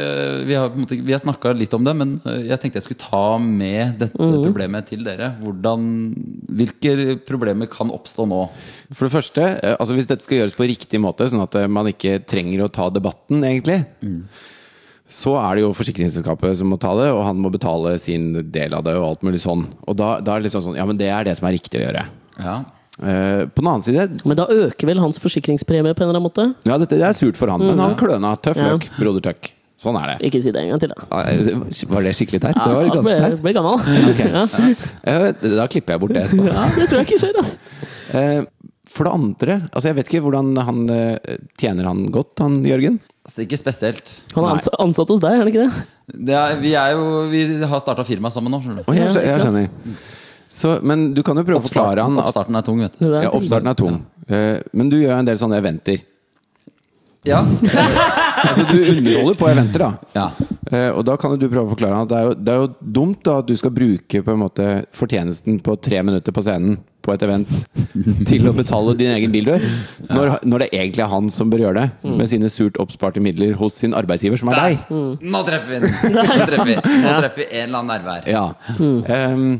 Speaker 2: Vi har, på en måte, ikke- vi har snakka litt om det, men eh, jeg tenkte jeg skulle ta med dette problemet til dere. Hvordan, hvilke problemer kan oppstå nå?
Speaker 3: For det første, eh, altså hvis dette skal gjøres på riktig måte, sånn at eh, man ikke trenger å ta debatten, egentlig, så er det jo forsikringsselskapet som må ta det, og han må betale sin del av det, og alt mulig sånn. Og da, da er det liksom sånn Ja, men det er det som er riktig å gjøre.
Speaker 2: Ja,
Speaker 3: Eh, på den annen side
Speaker 1: Men da øker vel hans forsikringspremie på en eller annen måte?
Speaker 3: Ja, dette det er surt for han, men han kløna. Tøff
Speaker 1: Mm. Ja.
Speaker 3: løk, broder tøkk. Sånn er det.
Speaker 1: Ikke si det en gang til, da.
Speaker 3: Ah, eh, Var det skikkelig teit? Det var
Speaker 1: Ja,
Speaker 3: ganske
Speaker 1: ble,
Speaker 3: teit.
Speaker 1: ble gammel. Ja.
Speaker 3: Eh, Da klipper jeg bort det etterpå.
Speaker 1: ja, det tror jeg ikke skjer, ass.
Speaker 3: Eh, For det andre, altså jeg vet ikke hvordan han eh, Tjener han godt, han Jørgen?
Speaker 2: altså ikke spesielt.
Speaker 1: Han er
Speaker 3: Nei.
Speaker 1: ansatt, ansatt hos deg, er han ikke det?
Speaker 2: Det er, vi, er jo, vi har starta firma sammen nå. skjønner du.
Speaker 3: Å, jeg,
Speaker 1: Ja, ikke
Speaker 3: jeg
Speaker 1: sant?
Speaker 3: skjønner. Så, men du kan jo prøve å forklare han at
Speaker 2: Oppstarten er tung, vet du.
Speaker 1: Det er
Speaker 3: ja,
Speaker 1: en ting.
Speaker 3: oppstarten er tung. Eh, Men du gjør en del sånne eventer.
Speaker 2: Ja.
Speaker 3: Altså, du underholder på eventer, da.
Speaker 2: ja.
Speaker 3: Eh, Og da kan jo du prøve å forklare han at det er jo, det er jo dumt da at du skal bruke på en måte fortjenesten på tre minutter på scenen på et event til å betale din egen bildør, når, når det egentlig er han som bør gjøre det,
Speaker 1: Mm.
Speaker 3: med sine surt oppsparte midler hos sin arbeidsgiver, som er deg.
Speaker 2: Nå treffer vi den! Nå treffer vi, Nå treffer vi en eller annen nerve her.
Speaker 3: Ja.
Speaker 1: Mm.
Speaker 3: Ehm,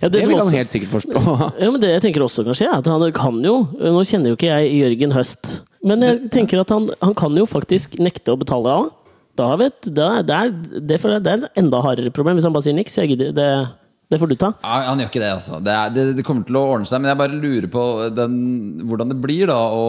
Speaker 1: Ja,
Speaker 3: det
Speaker 1: som
Speaker 3: vil han
Speaker 1: også-
Speaker 3: helt sikkert forstå.
Speaker 1: Ja, men Det jeg tenker også kan skje, er at han kan jo Nå kjenner jo ikke jeg Jørgen Høst, men jeg tenker at han, han kan jo faktisk nekte å betale av. Da vet, da, det, er, det, føler jeg- det er et enda hardere problem hvis han bare sier niks. Jeg gidder, det, det får du ta.
Speaker 2: Ja, han gjør ikke det, altså. Det, er, det, det kommer til å ordne seg. Men jeg bare lurer på den, hvordan det blir da å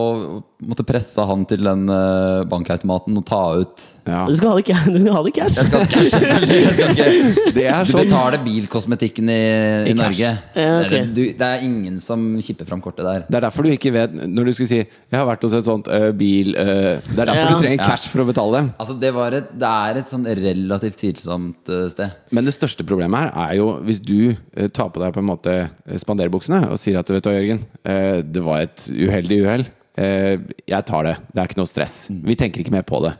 Speaker 2: måtte presse han til den eh, bankautomaten og ta ut
Speaker 3: Ja.
Speaker 1: Du skal ha det, ca- du skal ha det i cash.
Speaker 2: Jeg skal ikke, jeg skal ikke.
Speaker 3: Det er
Speaker 2: Du
Speaker 3: sånn.
Speaker 2: betaler bilkosmetikken i, i,
Speaker 3: I cash.
Speaker 2: Norge.
Speaker 1: Ja, ok.
Speaker 2: Det er- du, det er ingen som kipper fram kortet der.
Speaker 3: Det er derfor du ikke vet Når du skulle si 'Jeg har vært hos et sånt øh, bil øh, Det er derfor
Speaker 1: Ja.
Speaker 3: du trenger
Speaker 2: Ja.
Speaker 3: cash for å betale dem.
Speaker 2: Altså, det, var et, det er et sånn relativt tvilsomt eh, sted.
Speaker 3: Men det største problemet her er jo hvis du øh, tar på deg på en måte øh, spanderbuksene og sier at 'Vet du hva, Jørgen, øh, det var et uheldig uhell. Eh, jeg tar det. Det er ikke noe stress. Vi tenker ikke mer på det.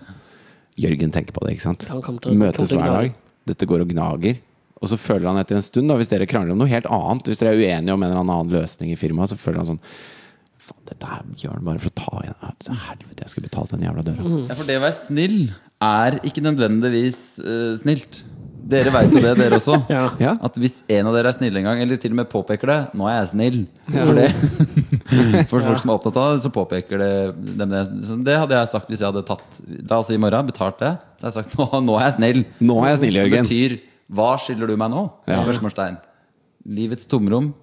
Speaker 3: Jørgen tenker på det, ikke sant?
Speaker 1: Han kommer til å- kommer
Speaker 3: Møtes
Speaker 1: til å
Speaker 3: hver
Speaker 1: gnage.
Speaker 3: dag. Dette går og gnager. Og så føler han etter en stund, da, hvis dere krangler om noe helt annet, hvis dere er uenige om en eller annen løsning i firmaet, så føler han sånn Faen, dette her gjør han bare for å ta igjen Helvete, jeg skulle betalt den jævla døra.
Speaker 1: Mm.
Speaker 2: Ja, for det å være snill er ikke nødvendigvis eh, snilt. Dere veit jo det, dere også.
Speaker 1: Ja.
Speaker 3: Ja.
Speaker 2: At hvis en av dere er snill en gang, eller til og med påpeker det 'Nå er jeg snill'. For det For folk som er opptatt av det, så påpeker det dem det. Så det hadde jeg sagt hvis jeg hadde tatt La oss si i morgen, betalt det. Så hadde jeg sagt 'Nå, nå er jeg snill'.
Speaker 3: Nå er jeg snill, Jørgen.
Speaker 2: Som betyr 'Hva skylder du meg nå?'
Speaker 3: Ja.
Speaker 2: Spørsmålstegn. Livets tomrom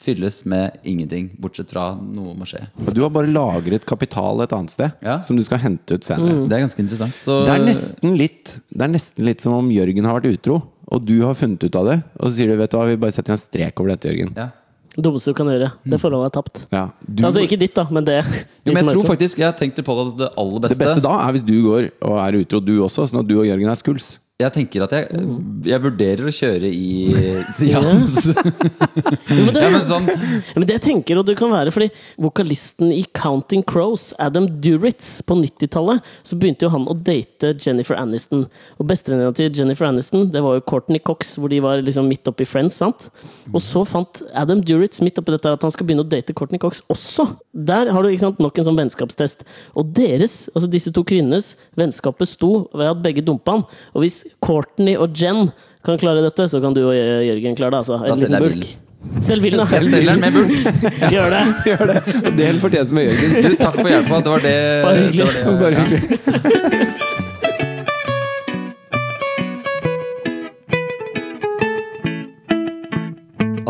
Speaker 2: fylles med ingenting, bortsett fra noe må skje.
Speaker 3: Og du har bare lagret kapital et annet sted,
Speaker 2: Ja.
Speaker 3: som du skal hente ut senere.
Speaker 2: Det er ganske interessant. Så,
Speaker 3: Mm. Det, er nesten litt, det er nesten litt som om Jørgen har vært utro, og du har funnet ut av det. Og så sier du vet du hva, vi bare setter en strek over dette, Jørgen.
Speaker 2: ja.
Speaker 1: Det dummeste du kan gjøre. Det forholdet er tapt.
Speaker 3: Ja, du,
Speaker 1: Altså ikke ditt, da, men det.
Speaker 2: Mm. Jo, men jeg tror
Speaker 1: liksom-
Speaker 2: faktisk, jeg har tenkt litt på det, at det aller beste,
Speaker 3: det beste da er hvis du går og er utro, du også, sånn at du og Jørgen er skuls.
Speaker 2: Jeg tenker at jeg,
Speaker 3: Mm.
Speaker 2: jeg vurderer å kjøre i seans.
Speaker 1: Jo, men det,
Speaker 2: ja, men sånn,
Speaker 1: Ja, Men det jeg tenker at det kan være fordi vokalisten i Counting Crows, Adam Duritz, på 90-tallet, så begynte jo han å date Jennifer Aniston. Og bestevenninna til Jennifer Aniston, det var jo Courtney Cox, hvor de var liksom midt oppe i Friends, sant? Og så fant Adam Duritz midt oppi dette at han skal begynne å date Courtney Cox også. Der har du ikke sant, nok en sånn vennskapstest. Og deres, altså disse to kvinnenes, vennskap besto ved at begge dumpa han. Og hvis Courtney og Jen kan klare dette, så kan du og Jørgen klare det, altså. En liten
Speaker 2: selger jeg
Speaker 1: bulk. Selv vil, da.
Speaker 2: jeg selger den med bulk.
Speaker 1: Gjør det.
Speaker 3: Gjør det! Og del fortjenesten med Jørgen.
Speaker 2: Du, takk for hjelpa. Det var det.
Speaker 1: Bare hyggelig.
Speaker 2: det, var det.
Speaker 3: Bare hyggelig.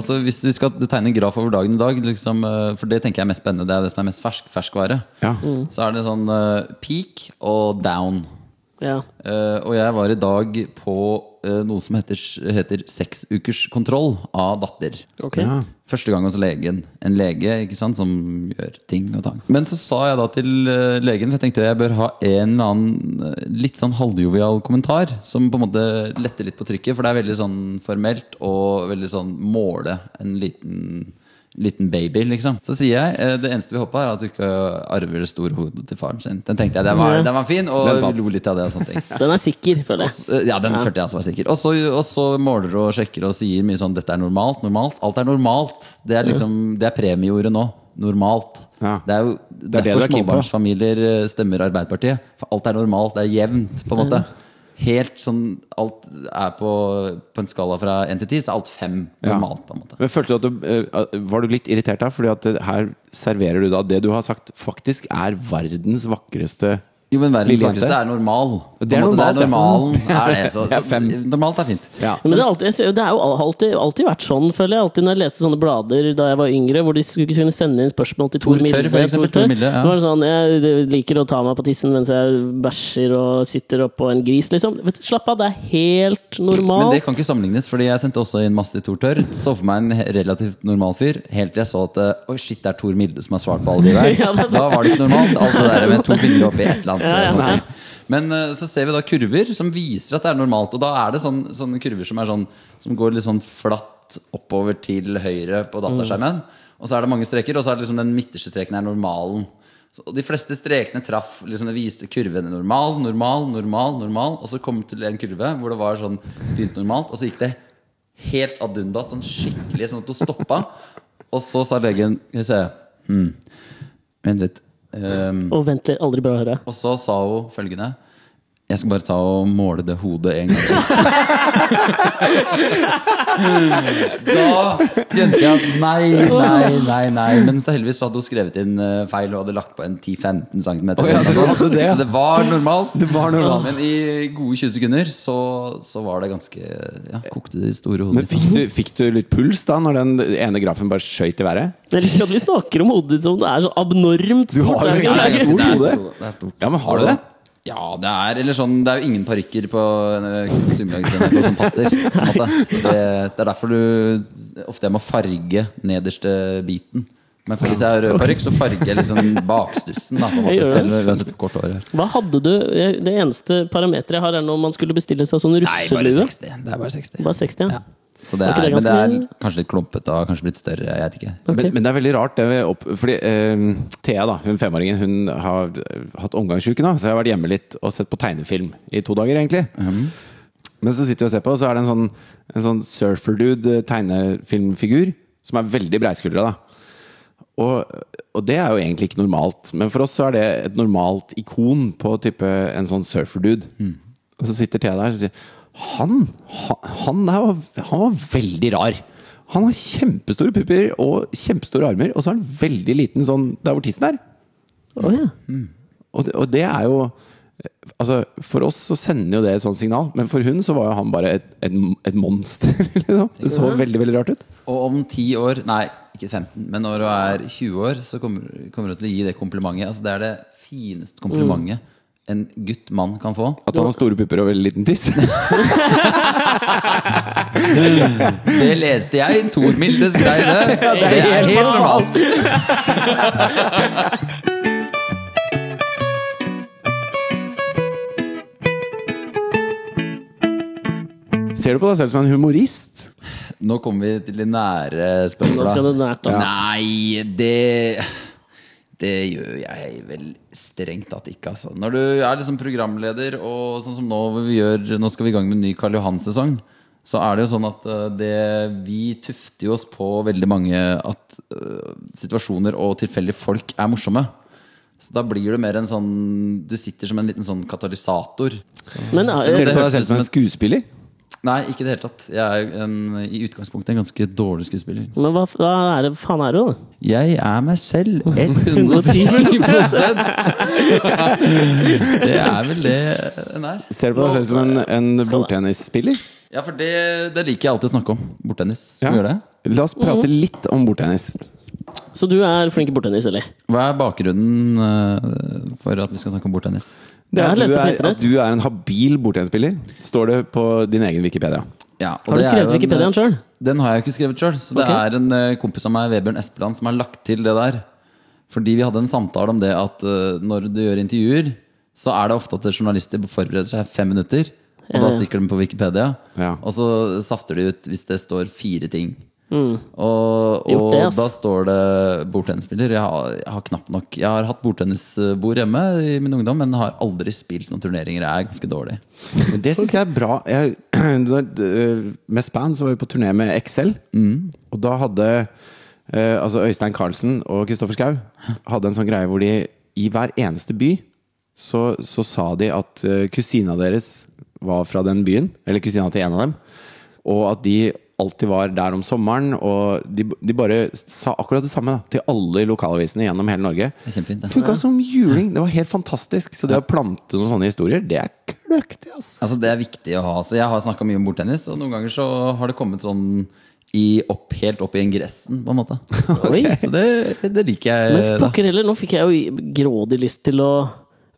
Speaker 2: Altså Hvis vi skal tegne en graf over dagen i dag, liksom, eh, for det tenker jeg er mest spennende, det er det som er mest fersk, ferskvare,
Speaker 3: Ja.
Speaker 2: så er det sånn eh, peak og down.
Speaker 1: Ja.
Speaker 2: Eh, og jeg var i dag på eh, noe som heter, heter seksukerskontroll av datter.
Speaker 1: Ok.
Speaker 3: Ja.
Speaker 2: Første gang hos legen. En lege ikke sant, som gjør ting og tang. Men så sa jeg da til eh, legen, for jeg tenkte jeg bør ha en eller annen eh, litt sånn halvjovial kommentar som på en måte letter litt på trykket, for det er veldig sånn formelt og veldig sånn måle en liten Liten baby, liksom. Så sier jeg eh, det eneste vi håper, er at du ikke arver storhodet til faren sin. Den tenkte jeg, den var, den var fin, og
Speaker 3: Den satt.
Speaker 2: lo litt av det. og sånne ting
Speaker 1: Den er sikker, føler jeg.
Speaker 2: Eh, Ja, den følte jeg også var sikker. Og så, og så måler og sjekker og sier mye sånn 'dette er normalt', 'normalt'. Alt er normalt. Det er, liksom, det er premieordet nå. Normalt.
Speaker 3: Ja.
Speaker 2: Det er jo
Speaker 3: er det
Speaker 2: derfor
Speaker 3: du er keen på.
Speaker 2: småbarnsfamilier eh, stemmer Arbeiderpartiet. For alt er normalt. Det er jevnt, på en måte. Helt sånn Alt er på, på en skala fra én til ti, så er alt fem
Speaker 3: Ja.
Speaker 2: normalt, på en måte.
Speaker 3: Men følte du at du, eh, Var du litt irritert da? Fordi at eh, her serverer du da det du har sagt faktisk er verdens vakreste
Speaker 2: Jo, men verdens
Speaker 3: Lille jente.
Speaker 2: vakreste er normal. På
Speaker 3: Det er
Speaker 2: en måte,
Speaker 3: normalt, ja.
Speaker 2: normalen. Er det, så,
Speaker 3: Det er
Speaker 2: så,
Speaker 3: fem.
Speaker 2: normalt er fint.
Speaker 3: ja.
Speaker 1: Men det, er alltid, jeg ser- det er jo alltid, alltid vært sånn, føler jeg. Alltid når jeg leste sånne blader da jeg var yngre, hvor de skulle ikke kunne sende inn spørsmål til Tor
Speaker 2: Tor Tørr,
Speaker 1: Milde.
Speaker 2: for eksempel, Tor Milde, ja.
Speaker 1: Nå var det sånn Jeg liker å ta meg på tissen mens jeg bæsjer og sitter oppå en gris, liksom. Vet du, slapp av, det er helt
Speaker 2: Men det
Speaker 1: normalt.
Speaker 2: kan ikke sammenlignes, fordi jeg sendte også inn masse til Tor Tørr. Så for meg en he- relativt normal fyr, helt til jeg så at eh, Oi, shit, det er Tor Milde som har svart på alle de der.
Speaker 1: Ja, det er sant.
Speaker 2: da var det ikke normalt. Alt det der med to fingre oppi et eller annet sted.
Speaker 1: Ja, ja.
Speaker 2: og sånne ting. Men eh, så ser vi da kurver som viser at det er normalt. Og da er det sånn, sånne kurver som, er sånn, som går litt sånn flatt oppover til høyre
Speaker 1: Mm.
Speaker 2: på dataskjermen. Og så er det mange streker, og så er det liksom den midterste streken er normalen. Så, og de fleste strekene traff liksom det viste kurvene normal, normal, normal, normal. Og så kom det til en kurve hvor det var sånn begynte normalt, og så gikk det helt ad undas, sånn skikkelig, sånn at hun stoppa. Og så sa legen Skal vi se hmm, Vent litt. Um,
Speaker 1: Og vent litt, aldri bra å høre.
Speaker 2: og så sa hun følgende Jeg skal bare ta og måle det hodet en gang til. da kjente jeg at nei, nei, nei, nei. Men så heldigvis så hadde hun skrevet inn eh, feil og hadde lagt på en 10-15 cm.
Speaker 3: Å ja, du hadde det, ja.
Speaker 2: Så det var normalt.
Speaker 3: Det var normalt.
Speaker 2: Men i gode 20 sekunder så, så var det ganske Ja, kokte det i store hodet.
Speaker 3: Men fikk du, fikk du litt puls da Når den ene grafen bare skjøyt i været?
Speaker 1: Jeg liker at vi snakker om hodet ditt som det er så abnormt.
Speaker 3: Du har
Speaker 1: Det
Speaker 3: jo
Speaker 1: er ikke-
Speaker 3: egentlig-
Speaker 1: det er ikke-
Speaker 3: stort hode.
Speaker 2: Det er stort.
Speaker 3: Ja, men har du det?
Speaker 2: Ja, det er eller sånn, det er jo ingen parykker på eh, Sunnmørsgrenka som passer. På en måte. Så det, det er derfor du ofte jeg må farge nederste biten. Men for hvis jeg har rød parykk, så farger jeg liksom bakstussen. Da, på en
Speaker 1: Jeg
Speaker 2: måte,
Speaker 1: gjør det.
Speaker 2: selv, uansett hvor kort hår jeg har.
Speaker 1: Hva hadde du? jeg- Det eneste parameteret jeg har, er når man skulle bestille seg sånn
Speaker 2: Nei, bare
Speaker 1: russelue.
Speaker 2: 60. Det er bare 60.
Speaker 1: Bare 60, ja.
Speaker 2: Ja. Så det
Speaker 1: Var ikke
Speaker 2: er,
Speaker 1: det
Speaker 2: men det er
Speaker 1: ganske mye?
Speaker 2: kanskje litt klumpete og kanskje blitt større. Jeg vet ikke.
Speaker 1: Ok.
Speaker 3: Men, men det er veldig rart det vi opp, Fordi eh, Thea da, hun femåringen Hun har eh, hatt omgangssyke nå Så jeg har vært hjemme litt og sett på tegnefilm I to dager egentlig Men så sitter vi og ser på Og så er det en sånn, en sånn surfer-dude eh, tegnefilmfigur Som er veldig breiskuldra da og, og det er jo egentlig ikke normalt Men for oss så er det et normalt ikon På type en sånn surfer-dude Og så sitter Thea der og sier Han, han, han, der var, han var veldig rar Han har kjempestore pupper Og kjempestore armer Og så har han veldig liten sånn Der hvor tissen er
Speaker 1: Å, ja.
Speaker 3: og det, og det er jo Altså, For oss så sender jo det et sånt signal, men for hun så var jo han bare et, et, et monster. Liksom. Det så veldig veldig rart ut.
Speaker 2: Og om ti år, nei, ikke 15, men når du er 20 år, så kommer, kommer du til å gi det komplimentet. Altså, det er det fineste
Speaker 1: Mm.
Speaker 2: komplimentet en gutt mann kan få.
Speaker 3: At han har store pupper og veldig liten tiss.
Speaker 2: Det leste jeg. Tor Milde skrev det.
Speaker 1: det er helt normalt.
Speaker 3: Ser du på deg selv som en humorist?
Speaker 2: Nå kommer vi til de nære
Speaker 1: Nå skal det
Speaker 2: spørsmåla.
Speaker 1: nært, altså.
Speaker 2: Nei, det det gjør jeg vel strengt tatt ikke, altså. Når du er liksom programleder, og sånn som nå hvor vi gjør Nå skal vi i gang med en ny Karl Johan-sesong. Så er det jo sånn at eh, det, vi tufter jo oss på veldig mange at eh, situasjoner og tilfeldige folk er morsomme. Så da blir du mer en sånn Du sitter som en liten sånn katalysator.
Speaker 1: Men eh,
Speaker 3: Ser
Speaker 1: er,
Speaker 3: du på deg selv som en skuespiller?
Speaker 2: Nei, ikke i det hele tatt. Jeg er jo en, i utgangspunktet en ganske dårlig skuespiller.
Speaker 1: men hva, hva er det faen er du, da?
Speaker 2: Jeg er meg selv 110 Det er vel det en er.
Speaker 3: Ser du på deg selv som en, en bordtennisspiller?
Speaker 2: Ja, for det, det liker jeg alltid å snakke om. Bordtennis. Skal
Speaker 3: Ja.
Speaker 2: vi gjøre det?
Speaker 3: La oss prate litt om bordtennis.
Speaker 1: Så du er flink i bordtennis, eller?
Speaker 2: Hva er bakgrunnen eh, for at vi skal snakke om bordtennis?
Speaker 3: Det
Speaker 1: Jeg har
Speaker 3: er at
Speaker 1: lest
Speaker 3: du
Speaker 1: det på
Speaker 3: er,
Speaker 1: internett.
Speaker 3: at du er en habil bordtennisspiller, står det på din egen Wikipedia.
Speaker 2: Ja, og
Speaker 1: Har du
Speaker 2: det er
Speaker 1: skrevet
Speaker 2: jo en- eh,
Speaker 1: Wikipediaen sjøl?
Speaker 2: Den har jeg ikke skrevet sjøl. Så det
Speaker 1: Ok.
Speaker 2: er en eh, kompis av meg, Vebjørn Espeland, som har lagt til det der. Fordi vi hadde en samtale om det at eh, når du gjør intervjuer, så er det ofte at journalister forbereder seg fem minutter. Og da stikker de på Wikipedia.
Speaker 3: Ja.
Speaker 2: Og så safter de ut hvis det står fire ting. Og, og
Speaker 1: Mm. Gjort det, ass.
Speaker 2: da står det bordtennisspiller. Jeg har, jeg har knapt nok Jeg har hatt bordtennisbord hjemme i min ungdom, men har aldri spilt noen turneringer. Jeg er ganske dårlig.
Speaker 3: Men det syns jeg er bra. Jeg, øh, med Span så var vi på turné med Excel. Og da hadde eh, altså Øystein Carlsen og Kristoffer Schau hadde en sånn greie hvor de i hver eneste by så, så sa de at eh, kusina deres var fra den byen, eller kusina til en av dem. Og at de alltid var der om sommeren. Og de, de bare sa akkurat det samme da, til alle lokalavisene gjennom hele Norge.
Speaker 2: Det er kjempefint, det.
Speaker 3: Funka som juling! Det var helt fantastisk. Så det å plante noen sånne historier, det er kløktig, ass!
Speaker 2: Altså Det er viktig å ha. Så Jeg har snakka mye om bordtennis, og noen ganger så har det kommet sånn i opp, helt opp i ingressen, på en måte. Så det, det liker
Speaker 1: Men
Speaker 2: jeg. da.
Speaker 1: pokker heller, nå fikk jeg jo grådig lyst til å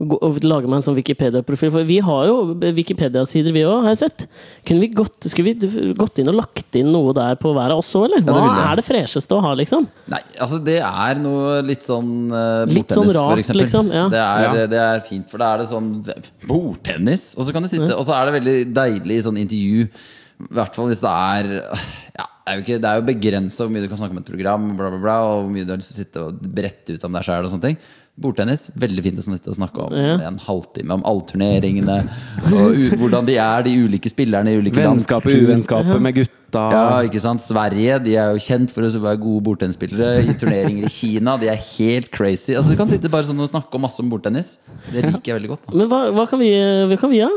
Speaker 1: gå, å lage meg en sånn Wikipedia-profil. For vi har jo Wikipedia-sider, vi òg, har jeg sett. Kunne vi gått, skulle vi gått inn og lagt inn noe der på hver av oss òg, eller?
Speaker 2: det
Speaker 1: Hva
Speaker 2: ville jeg.
Speaker 1: er det fresheste å ha, liksom?
Speaker 2: Nei, altså Det er noe litt sånn uh,
Speaker 1: Litt
Speaker 2: bordtennis,
Speaker 1: sånn rart,
Speaker 2: for eksempel.
Speaker 1: liksom, ja.
Speaker 2: Det, er,
Speaker 3: Ja.
Speaker 2: det er fint, for da er det sånn Bordtennis! Og så kan du sitte, og så er det veldig deilig i sånn intervju. I hvert fall hvis det er ja, Det er jo, ikke- det er jo begrensa hvor mye du kan snakke om et program, bla, bla, bla, og hvor mye du har lyst til å sitte og brette ut om deg sjæl. og sånne ting. Bordtennis, veldig fint å sitte og snakke om
Speaker 1: Ja.
Speaker 2: en halvtime, om alle turneringene, og u hvordan de er, de ulike spillerne i ulike lands
Speaker 3: Vennskapet,
Speaker 2: kultur.
Speaker 3: uvennskapet med gutta.
Speaker 2: Ja, ikke sant? Sverige de er jo kjent for å være gode bordtennisspillere. I turneringer i Kina. De er helt crazy. Altså, Du kan sitte bare sånn og snakke om masse om bordtennis. Det liker jeg veldig godt. da
Speaker 1: Men hva, hva kan vi hva kan vi ha?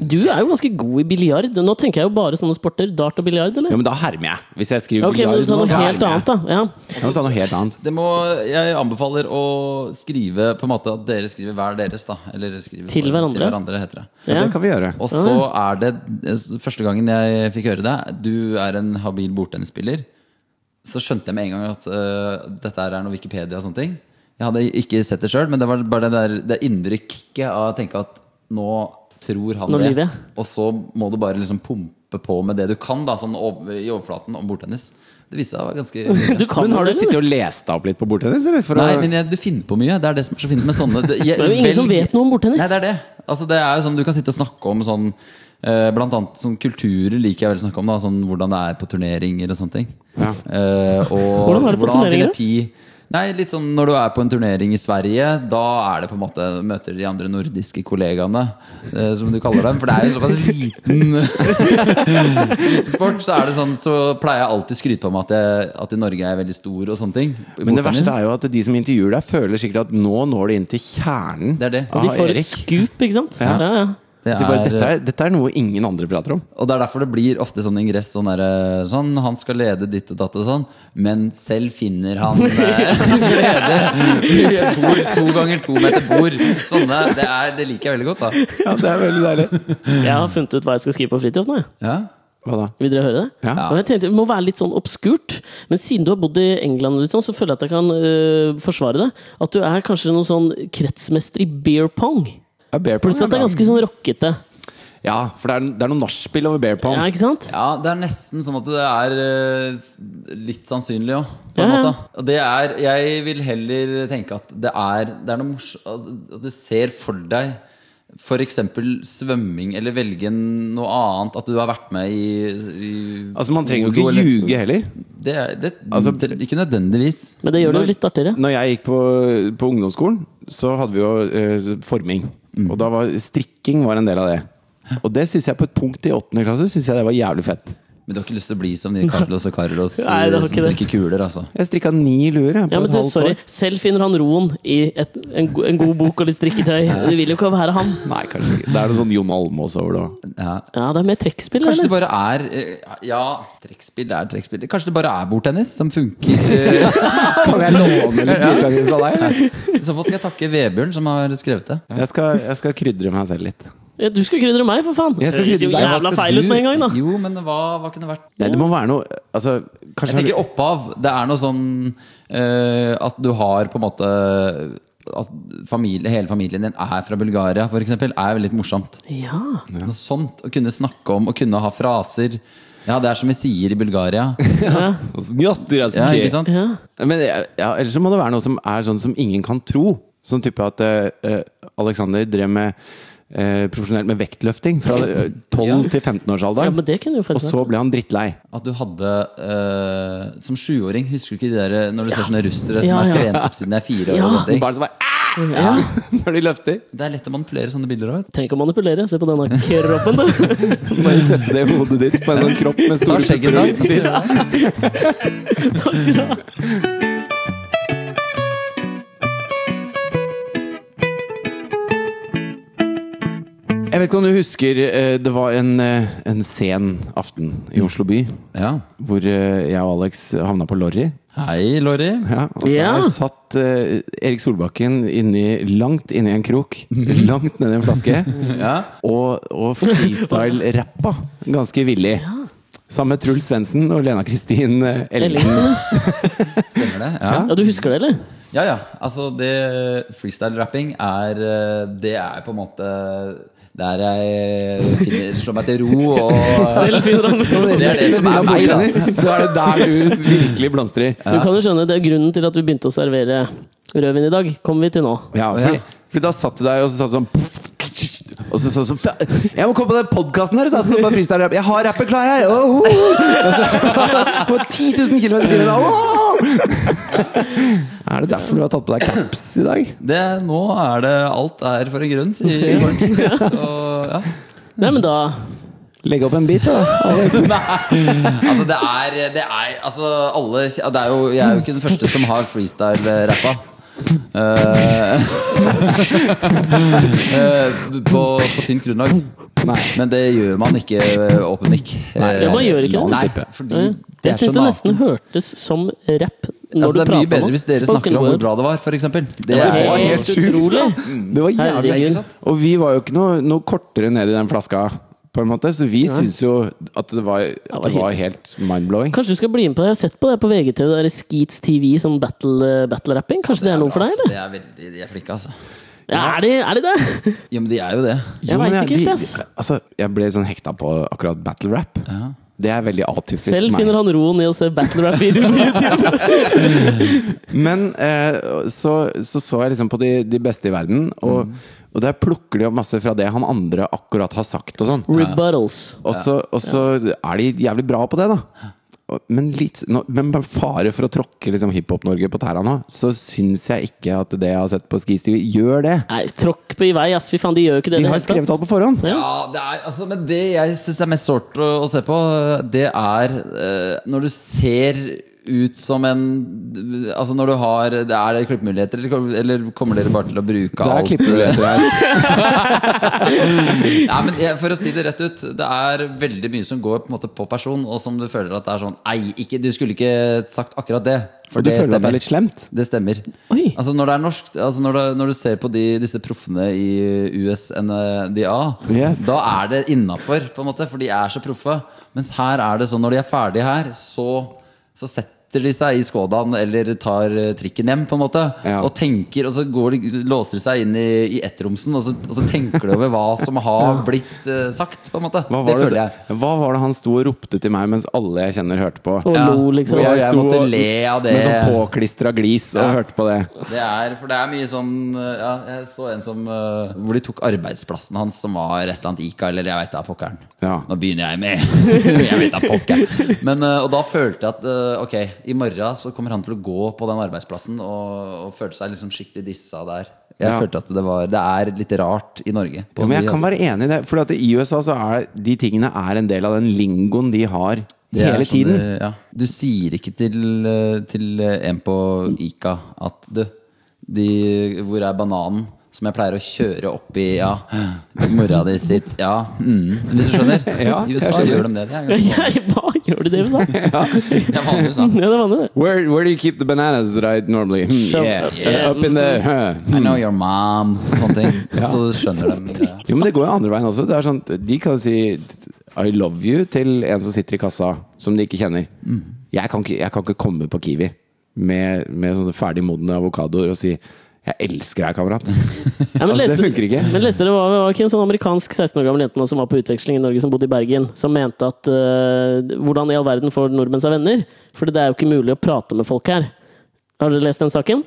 Speaker 1: Du er jo ganske god i biljard. Nå tenker jeg jo bare sånne sporter. Dart og biljard, eller?
Speaker 3: Ja, men da hermer jeg. Hvis jeg skriver
Speaker 1: Ok, men
Speaker 3: biljard,
Speaker 1: du tar
Speaker 3: nå, så
Speaker 1: noe helt
Speaker 3: hermer jeg.
Speaker 1: annet, da. Ja.
Speaker 3: Jeg må ta noe helt annet.
Speaker 2: det må, Jeg anbefaler å skrive på en måte at dere skriver hver deres. da Eller skriver
Speaker 1: Til hverandre.
Speaker 2: til hverandre heter det.
Speaker 3: Ja,
Speaker 1: Ja.
Speaker 3: det kan vi gjøre.
Speaker 2: Og så er det eh, første gangen jeg fikk høre det, du er en habil bordtennisspiller, så skjønte jeg med en gang at øh, dette her er noe Wikipedia og sånne ting. Jeg hadde ikke sett det sjøl, men det var bare det, der, det indre kicket av å tenke at nå tror han
Speaker 1: Nå lyver
Speaker 2: det.
Speaker 1: jeg.
Speaker 2: Og så må du bare liksom pumpe på med det du kan da, sånn over, i overflaten om bordtennis. Det viste seg å være ganske
Speaker 1: Du kan
Speaker 3: Men har du
Speaker 1: det, eller?
Speaker 3: sittet og lest deg opp litt på bordtennis? Eller? For
Speaker 2: Nei,
Speaker 3: å-
Speaker 2: men jeg, du finner på mye. Det er det som er så fint med sånne Det, jeg-
Speaker 1: Det er jo ingen
Speaker 2: velg-
Speaker 1: som vet noe om bordtennis.
Speaker 2: Nei, det er det. Altså, det er jo sånn, du kan sitte og snakke om sånn eh, Blant annet sånn kulturer liker jeg veldig å snakke om. da Sånn Hvordan det er på turneringer og sånne ting.
Speaker 3: Ja.
Speaker 2: Eh, og
Speaker 1: Hvordan er det på
Speaker 2: man finner
Speaker 1: turneringer?
Speaker 2: tid- Nei, litt sånn Når du er på en turnering i Sverige, da er det på en måte møter de andre nordiske kollegaene, eh, som du kaller dem. For det er jo såpass liten sport, så er det sånn Så pleier jeg alltid skryte om at, jeg, at i Norge er jeg veldig stor og sånne ting. i
Speaker 3: men det
Speaker 2: bordtennis.
Speaker 3: verste er jo at de som intervjuer deg, føler sikkert at nå når det inn til kjernen.
Speaker 2: Det er det.
Speaker 1: Og de
Speaker 3: av
Speaker 1: får et
Speaker 3: Ah, Erik.
Speaker 1: scoop, ikke sant?
Speaker 3: Ja.
Speaker 1: Ja, ja.
Speaker 2: Det
Speaker 3: De bare,
Speaker 2: er-
Speaker 3: dette, er, dette er noe ingen andre prater om.
Speaker 2: Og det er derfor det blir ofte sånn ingress sånn, derre, sånn Han skal lede ditt og datt og sånn, men selv finner han eh, glede i et bord. To ganger to meter bord. Sånne, det, er, det liker jeg veldig godt, da.
Speaker 3: Ja, det er veldig deilig.
Speaker 1: Jeg har funnet ut hva jeg skal skrive på fritid nå, jeg.
Speaker 2: Ja.
Speaker 3: Hva da?
Speaker 1: Vil dere høre det?
Speaker 3: Ja.
Speaker 1: Og jeg tenkte, Det må være litt sånn obskurt, men siden du har bodd i England, og litt sånn, så føler jeg at jeg kan øh, forsvare det. At du er kanskje noen sånn kretsmester i beer pong.
Speaker 3: Ja, bear pong
Speaker 1: Pluss
Speaker 3: er
Speaker 1: at det er
Speaker 3: bra.
Speaker 1: ganske sånn rockete.
Speaker 3: Ja, for det er, det er noe nachspiel over bear pong.
Speaker 1: Ja, ikke sant?
Speaker 2: ja, det er nesten sånn at det er eh, litt sannsynlig òg, på en
Speaker 1: Ja, ja.
Speaker 2: måte. Og det er Jeg vil heller tenke at det er, det er noe morsomt At du ser for deg F.eks. svømming, eller velge noe annet. At du har vært med i, i
Speaker 3: Altså Man trenger jo
Speaker 2: Odo
Speaker 3: ikke
Speaker 2: eller-
Speaker 3: ljuge heller.
Speaker 2: Det er det,
Speaker 3: Altså-
Speaker 2: det, ikke nødvendigvis.
Speaker 1: Men det gjør det
Speaker 3: Når-
Speaker 1: jo litt artigere.
Speaker 3: Når jeg gikk på, på ungdomsskolen, så hadde vi jo eh, forming. Og da var strikking var en del av det. Og det synes jeg på et punkt i åttende klasse synes jeg det var jævlig fett.
Speaker 2: Men du har ikke lyst til å bli som de Carlos og Carlos
Speaker 1: Nei, det
Speaker 2: eh,
Speaker 1: var
Speaker 2: som
Speaker 1: ikke det.
Speaker 2: strikker kuler, altså.
Speaker 3: Jeg strikka ni luer jeg, på
Speaker 1: Ja, men
Speaker 3: et
Speaker 1: du,
Speaker 3: halvt
Speaker 1: sorry.
Speaker 3: år.
Speaker 1: Selv finner han roen i et, en, go- en god bok og litt strikketøy. Det vil jo ikke være han.
Speaker 3: Nei, kanskje ikke. Det er noe sånn Jon Almaas over det òg.
Speaker 2: Ja.
Speaker 1: Ja, det er mer trekkspill,
Speaker 2: Kanskje det
Speaker 1: eller?
Speaker 2: bare er eh, Ja, trekkspill er trekkspill. Kanskje det bare er bordtennis som funker. eh.
Speaker 3: Kan jeg låne litt bordtennis av deg? eller?
Speaker 2: I så fall skal jeg takke Vebjørn, som har skrevet det.
Speaker 3: Jeg skal, jeg skal krydre meg selv litt.
Speaker 1: Ja, Du skal krydre meg, for faen!
Speaker 3: Jeg skal
Speaker 1: Høres jo
Speaker 3: krydre deg,
Speaker 2: Hva
Speaker 1: jævla
Speaker 2: skal
Speaker 1: feil
Speaker 2: du-
Speaker 1: ut med en gang, da.
Speaker 2: Jo, men hva, hva kunne vært
Speaker 3: Nei, det må være noe altså,
Speaker 2: Jeg
Speaker 3: Kanskje
Speaker 2: tenker opphav. Det er noe sånn eh, at du har på en måte at familie, Hele familien din er fra Bulgaria, f.eks. er jo litt morsomt.
Speaker 1: Ja.
Speaker 2: Noe sånt Å kunne snakke om, å kunne ha fraser. Ja, det er som vi sier i Bulgaria. Ja, ikke sant?
Speaker 1: ja.
Speaker 3: Men eh, ja, ellers så må det være noe som er sånn som ingen kan tro. Sånn type at eh, eh, Alexander drev med eh, profesjonelt med vektløfting fra eh, 12 til 15 års
Speaker 1: ja,
Speaker 3: alder.
Speaker 1: men det kunne jo
Speaker 3: og
Speaker 1: faktisk vært
Speaker 3: så ble han drittlei.
Speaker 2: At du hadde eh, Som sjuåring, husker du ikke de der når du ser sånne russere som
Speaker 1: Ja,
Speaker 2: er
Speaker 1: ja.
Speaker 2: trent opp siden de er fire år?
Speaker 1: Ja.
Speaker 2: Og sånne ting.
Speaker 3: Barn som bare "Ah!"
Speaker 1: ja.
Speaker 3: når de løfter.
Speaker 2: Det er lett å manipulere sånne bilder òg.
Speaker 1: Trenger ikke å manipulere. Se på denne kroppen, du.
Speaker 3: Bare sette det i hodet ditt på en sånn kropp med
Speaker 2: Ta
Speaker 3: store
Speaker 2: skjegget
Speaker 3: pupper og liten tiss.
Speaker 2: ditt.
Speaker 1: Takk skal du ha.
Speaker 3: Jeg vet ikke om du husker, eh, det var en, eh, en sen aften i Oslo by
Speaker 2: Ja.
Speaker 3: hvor eh, jeg og Alex havna på Lorry.
Speaker 2: Hei, Lorry.
Speaker 3: Ja, og
Speaker 1: Ja.
Speaker 3: Der satt eh, Erik Solbakken inni, langt inni en krok, langt nedi en flaske,
Speaker 2: Ja.
Speaker 3: og, og freestyle-rappa ganske villig. Sammen med Truls Svendsen og Lena Kristin eh, Ellingsen.
Speaker 1: Ellingsen.
Speaker 2: Stemmer det? Ja.
Speaker 1: Ja, du husker det, eller?
Speaker 2: Ja, ja. Altså, det freestyle-rapping er eh, Det er på en måte der jeg finner, slår meg til ro og
Speaker 1: Selv finner han
Speaker 2: Det er det
Speaker 3: Ved
Speaker 2: som er
Speaker 3: siden av
Speaker 2: meg,
Speaker 3: boka
Speaker 2: da.
Speaker 3: hennes, Så er det der du virkelig blomstrer.
Speaker 1: Du kan jo skjønne, det er grunnen til at vi begynte å servere rødvin i dag. Kommer vi til nå.
Speaker 3: Ja, fordi, fordi da satt du der, og så satt du sånn og så sa du sånn "Fa- Jeg må komme på den podkasten her! Så jeg, bare freestyle-rapp. jeg har rappen klar her! Åh, åh!" Og så, på 10 000 km i timen! åh! Er det derfor du har tatt på deg caps i dag?
Speaker 2: det, Nå er det alt er for en grunn, sier folk. Og, ja.
Speaker 1: Nei, men da
Speaker 3: Legg opp en bit, da. Alex.
Speaker 2: Altså, det er, det er Altså, alle det er jo, Jeg er jo ikke den første som har freestyle-rappa. Eh, eh, på, på tynt grunnlag.
Speaker 3: Nei.
Speaker 2: Men det gjør man ikke eh, open mic.
Speaker 1: Ja, man gjør ikke det.
Speaker 2: Nei, fordi
Speaker 1: eh,
Speaker 2: det
Speaker 1: Jeg
Speaker 2: er så
Speaker 1: syns det
Speaker 2: nakent.
Speaker 1: nesten hørtes som rap når
Speaker 2: altså,
Speaker 1: du
Speaker 2: det er mye
Speaker 1: prater
Speaker 2: bedre
Speaker 1: om
Speaker 2: hvis dere
Speaker 1: Spoken
Speaker 2: snakker om
Speaker 1: word.
Speaker 2: hvor bra det var, f.eks. Det
Speaker 1: Ja,
Speaker 2: er
Speaker 1: det var
Speaker 2: helt
Speaker 1: helt utrolig. Mm.
Speaker 3: Det var jævlig
Speaker 1: Herregud.
Speaker 2: Ikke sant?
Speaker 3: Og vi var jo ikke noe, noe kortere ned i den flaska, på en måte, så vi syntes jo at det var, at det var helt mind-blowing.
Speaker 1: Kanskje du skal bli med på det? Jeg har sett på det på VGTV, det der Skeets TV, sånn battle- battle-rapping. Kanskje det er noe for deg,
Speaker 2: Altså,
Speaker 1: eller?
Speaker 2: det er veldig, de er flinke, altså.
Speaker 1: Ja, er det er det? det?
Speaker 2: Jo, men de er jo det.
Speaker 1: Jeg
Speaker 3: Jo, men
Speaker 1: vet ikke helt,
Speaker 3: de-
Speaker 1: ass.
Speaker 3: de- altså, jeg ble sånn hekta på akkurat battle rap. Det er veldig atypisk
Speaker 1: Selv finner han roen i å se battle-rap-videoer på YouTube.
Speaker 3: Men eh, så, så så jeg liksom på de, de beste i verden, og,
Speaker 2: Mm.
Speaker 3: og der plukker de opp masse fra det han andre akkurat har sagt og sånn.
Speaker 1: Rebuttals.
Speaker 3: Og så, og så er de jævlig bra på det, da. Og- Men, litt, nå, men med fare for å tråkke liksom, Hiphop-Norge på tæra nå, så syns jeg ikke at det jeg har sett på Skis TV, gjør det.
Speaker 1: Nei, tråkk på i vei, ass. Fy faen, de gjør jo ikke det.
Speaker 3: De
Speaker 1: i det
Speaker 3: har
Speaker 1: hele tatt.
Speaker 3: skrevet alt på forhånd.
Speaker 1: Ja.
Speaker 2: Ja, det er, altså, men det jeg syns er mest sårt å, å se på, det er eh, når du ser ut som en Altså når du har det Er det klippemuligheter, eller, eller kommer dere bare til å bruke
Speaker 3: Det er
Speaker 2: alt?
Speaker 3: klippemuligheter her.
Speaker 2: Nei, men jeg, For å si det rett ut, det er veldig mye som går på, en måte, på person, og som du føler at det er sånn Nei, ikke, du skulle ikke sagt akkurat det. For
Speaker 3: Og du
Speaker 2: det
Speaker 3: føler at det
Speaker 2: stemmer.
Speaker 3: er litt slemt.
Speaker 2: Det stemmer.
Speaker 1: Oi.
Speaker 2: Altså Når det er norsk altså når, det, når du ser på de, disse proffene i USNDA,
Speaker 3: Yes.
Speaker 2: eh, da er det innafor, på en måte, for de er så proffe. Mens her er det sånn når de er ferdige her, så, så setter de seg i Skodaen eller tar eh, trikken hjem, på en måte.
Speaker 3: Ja.
Speaker 2: Og tenker, og så går de, låser de seg inn i, i ettromsen, og så, og så tenker de over hva som har blitt eh, sagt, på en måte.
Speaker 3: Hva
Speaker 2: Det
Speaker 3: var det,
Speaker 2: føler jeg.
Speaker 3: hva var det han sto og ropte til meg mens alle jeg kjenner, hørte på?
Speaker 1: Og
Speaker 2: Ja.
Speaker 1: lo, liksom.
Speaker 2: Og jeg,
Speaker 3: Jeg sto
Speaker 2: måtte
Speaker 3: og-
Speaker 2: le av det.
Speaker 3: Med sånn påklistra glis og hørte på det.
Speaker 2: Det er, for det er mye sånn eh, ja, Jeg så en som eh, Hvor de tok arbeidsplassen hans, som var et eller annet ICA, eller jeg veit da pokkeren.
Speaker 3: Ja.
Speaker 2: Nå begynner jeg med Jeg vet da pokkeren. Men, eh, og da følte jeg at eh, ok, i morgen så kommer han til å gå på den arbeidsplassen, og, og følte seg liksom skikkelig dissa der. Jeg
Speaker 3: Ja.
Speaker 2: følte at det var Det er litt rart i Norge. på
Speaker 3: Ja, men jeg
Speaker 2: de-
Speaker 3: kan være enig i det. For i USA så er de tingene er en del av den lingoen de har
Speaker 2: Det er
Speaker 3: hele
Speaker 2: sånn
Speaker 3: tiden.
Speaker 2: det- ja. Du sier ikke til, eh, til eh, en på Ica at du, de, hvor er bananen? som jeg pleier å kjøre opp i ja, mora di sitt Ja, mm, hvis du skjønner?
Speaker 3: Ja,
Speaker 2: I
Speaker 3: jeg
Speaker 2: USA
Speaker 3: skjønner.
Speaker 2: gjør de det. Det er ganske
Speaker 1: Ja, hva gjør du det i USA? Ja,
Speaker 2: det er vanlig i USA.
Speaker 1: det var det.
Speaker 3: Where, where do you keep the bananas that I normally Hmm,
Speaker 1: Shove
Speaker 3: yeah,
Speaker 1: up there.
Speaker 3: Up in the huh.
Speaker 2: I know your mom, sånne ting. Så skjønner de det.
Speaker 3: Jo, men det går jo andre veien også. Det er sånn, de kan si I love you til en som sitter i kassa, som de ikke kjenner. Jeg, kan ikke, jeg kan ikke komme på Kiwi med, med sånne ferdigmodne avokadoer og si 'jeg elsker deg, kamerat'.
Speaker 1: Ja,
Speaker 3: Altså, det funker ikke.
Speaker 1: Men leste dere hva- det var ikke en sånn amerikansk 16 år gammel jente nå som var på utveksling i Norge, som bodde i Bergen, som mente at eh, hvordan i all verden får nordmenn seg venner? For det er jo ikke mulig å prate med folk her. Har dere lest den saken?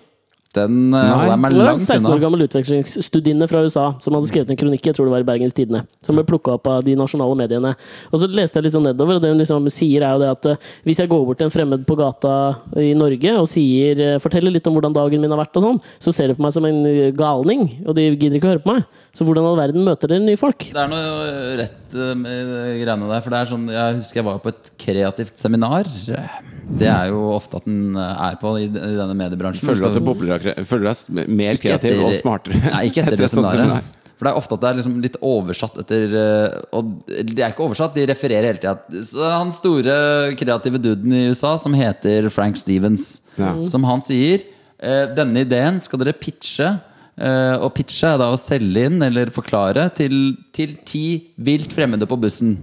Speaker 2: Den eh, holder jeg meg
Speaker 1: Det var en
Speaker 2: langt
Speaker 1: 16 år
Speaker 2: unna.
Speaker 1: gammel utvekslingsstudinne fra USA som hadde skrevet en kronikk, jeg tror det var i Bergens Tidende, som ble plukka opp av de nasjonale mediene. Og så leste jeg litt sånn nedover, og det hun liksom sier er jo det at eh, hvis jeg går bort til en fremmed på gata i Norge og sier, eh, forteller litt om hvordan dagen min har vært og sånn, så ser de på meg som en eh, galning, og de gidder ikke å høre på meg. Så hvordan i all verden møter dere nye folk?
Speaker 2: Det er noe rett eh, med de greiene der. For det er sånn, jeg husker jeg var på et kreativt seminar. Det er jo ofte at den øh, er på i i denne mediebransjen.
Speaker 3: Føler du
Speaker 2: Skal-
Speaker 3: at du bobler av kre- føler du deg s- mer
Speaker 2: Ikke
Speaker 3: kreativ
Speaker 2: etter-
Speaker 3: og smartere? sånn
Speaker 2: Nei, ikke etter, det
Speaker 3: et sånt seminar?
Speaker 2: seminaret. For det er ofte at det er liksom litt oversatt etter eh, Og det er ikke oversatt, de refererer hele tida. Så Han store kreative duden i USA som heter Frank Stevens,
Speaker 3: Ja.
Speaker 2: som han sier eh, Denne ideen skal dere pitche. eh, Og pitche er da å selge inn eller forklare til, til ti vilt fremmede på bussen.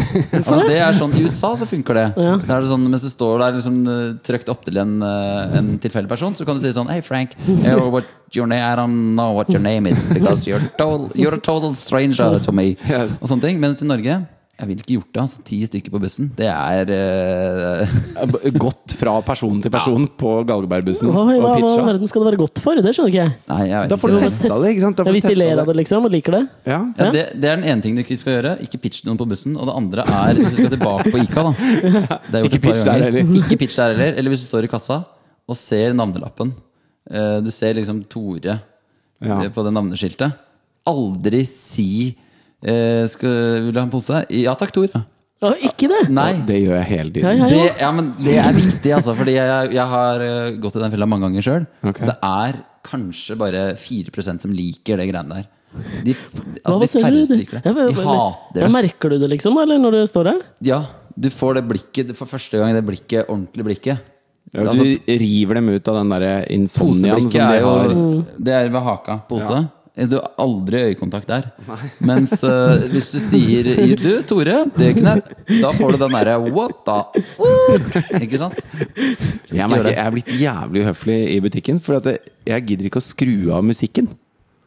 Speaker 2: Altså det er sånn, I USA så funker det. Da er det sånn, mens du står der liksom, eh, trykt opp til en, eh, en tilfeldig person, så kan du si sånn Hei, Frank. eh, what your name, I don't know what your name is, because you're, total, you're a total stranger to me.
Speaker 3: Yes.
Speaker 2: Og sånne ting. Mens i Norge jeg ville ikke gjort det. altså Ti stykker på bussen. Det er eh,
Speaker 3: B- Gått fra person til person på Galgebergbussen
Speaker 1: Hva, hva,
Speaker 3: og
Speaker 1: hva i all
Speaker 3: pitcha?
Speaker 1: verden skal det være godt for? Det skjønner ikke jeg.
Speaker 2: Nei, jeg vet
Speaker 3: Da får du
Speaker 2: ikke.
Speaker 1: Bare
Speaker 3: testa det, ikke sant? Da
Speaker 1: Ja,
Speaker 3: får du
Speaker 1: hvis de
Speaker 3: testa
Speaker 1: ler
Speaker 3: det.
Speaker 1: av det, liksom, og liker det.
Speaker 3: Ja.
Speaker 2: Ja, det, det er den ene tingen du ikke skal gjøre. Ikke pitch til noen på bussen. Og det andre er hvis du skal tilbake på ICA. da Det har jeg gjort et
Speaker 3: Ikke
Speaker 2: par
Speaker 3: pitch der
Speaker 2: ganger.
Speaker 3: heller.
Speaker 2: Ikke pitch der heller. Eller hvis du står i kassa og ser navnelappen. Eh, Du ser liksom Tore
Speaker 3: Ja.
Speaker 2: eh, på det navneskiltet. Aldri si eh, skal, 'Vil du ha en pose?' Ja takk, Tore.
Speaker 1: Ja, ikke det!
Speaker 2: Nei.
Speaker 3: Det gjør jeg hele
Speaker 1: Ja,
Speaker 3: tiden.
Speaker 1: ja, ja.
Speaker 2: Det, ja, men det er viktig, altså. Fordi jeg, jeg har eh, gått i den fella mange ganger sjøl.
Speaker 3: Ok.
Speaker 2: Det er kanskje bare 4 som liker det greiene der. De, altså,
Speaker 1: Hva
Speaker 2: de
Speaker 1: ser du?
Speaker 2: færreste
Speaker 1: det?
Speaker 2: liker det.
Speaker 1: Ja, men-
Speaker 2: De hater
Speaker 1: Ja,
Speaker 2: det.
Speaker 1: Merker du det, liksom, da, eller når du står der?
Speaker 2: Ja, du får det blikket det- for første gang. Det blikket, ordentlig blikket.
Speaker 3: Ja,
Speaker 2: Altså,
Speaker 3: du river dem ut av den derre insomniaen
Speaker 2: poseblikket
Speaker 3: som de
Speaker 2: er
Speaker 3: har.
Speaker 1: Mm.
Speaker 2: jo Det er ved haka. Pose. Du har aldri øyekontakt der. Mens øh, hvis du sier i 'du, Tore, det kunne jeg', da får du den derre 'what the fuck?' Ikke sant?
Speaker 3: Jeg, merker, jeg er blitt jævlig uhøflig i butikken, for at jeg, jeg gidder ikke å skru av musikken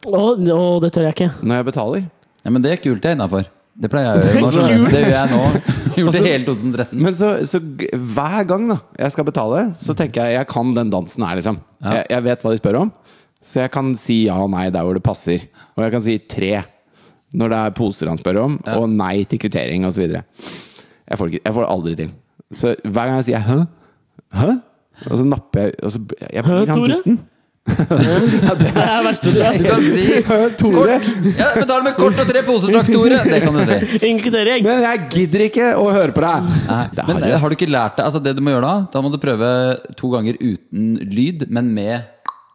Speaker 1: Å, å, det tør jeg ikke.
Speaker 3: når jeg betaler.
Speaker 2: Ja, men det er kult det er innafor. Det Altså, pleier jeg å
Speaker 1: Det er
Speaker 2: gjøre. nå, skjønner du.
Speaker 1: kult.
Speaker 2: Det gjør jeg nå. Gjort det hele 2013.
Speaker 3: Men så, så g- hver gang da jeg skal betale, så tenker jeg jeg kan den dansen her, liksom. Jeg, jeg vet hva de spør om, så jeg kan si ja og nei der hvor det passer. Og jeg kan si tre når det er poser han spør om, og nei til kvittering osv. Jeg, får det ikke- jeg får det aldri til. Så hver gang jeg sier 'hæ', hæ? Og så napper jeg og så, Jeg
Speaker 1: Hæ,
Speaker 3: blir han
Speaker 1: Tore?
Speaker 3: dusten.
Speaker 1: Det er det verste du
Speaker 2: Du
Speaker 1: gjør.
Speaker 2: kan si
Speaker 3: Hæ, Tore?
Speaker 2: kort. Ja, betal med kort og tre poser, takk, Tore. Det kan du si.
Speaker 1: Ingen kvittering!
Speaker 3: Men jeg gidder ikke å høre på deg! Det er
Speaker 2: Men
Speaker 3: harry,
Speaker 2: eh,
Speaker 3: ass.
Speaker 2: har du ikke lært deg altså Det du må gjøre da, da må du prøve to ganger uten lyd, men med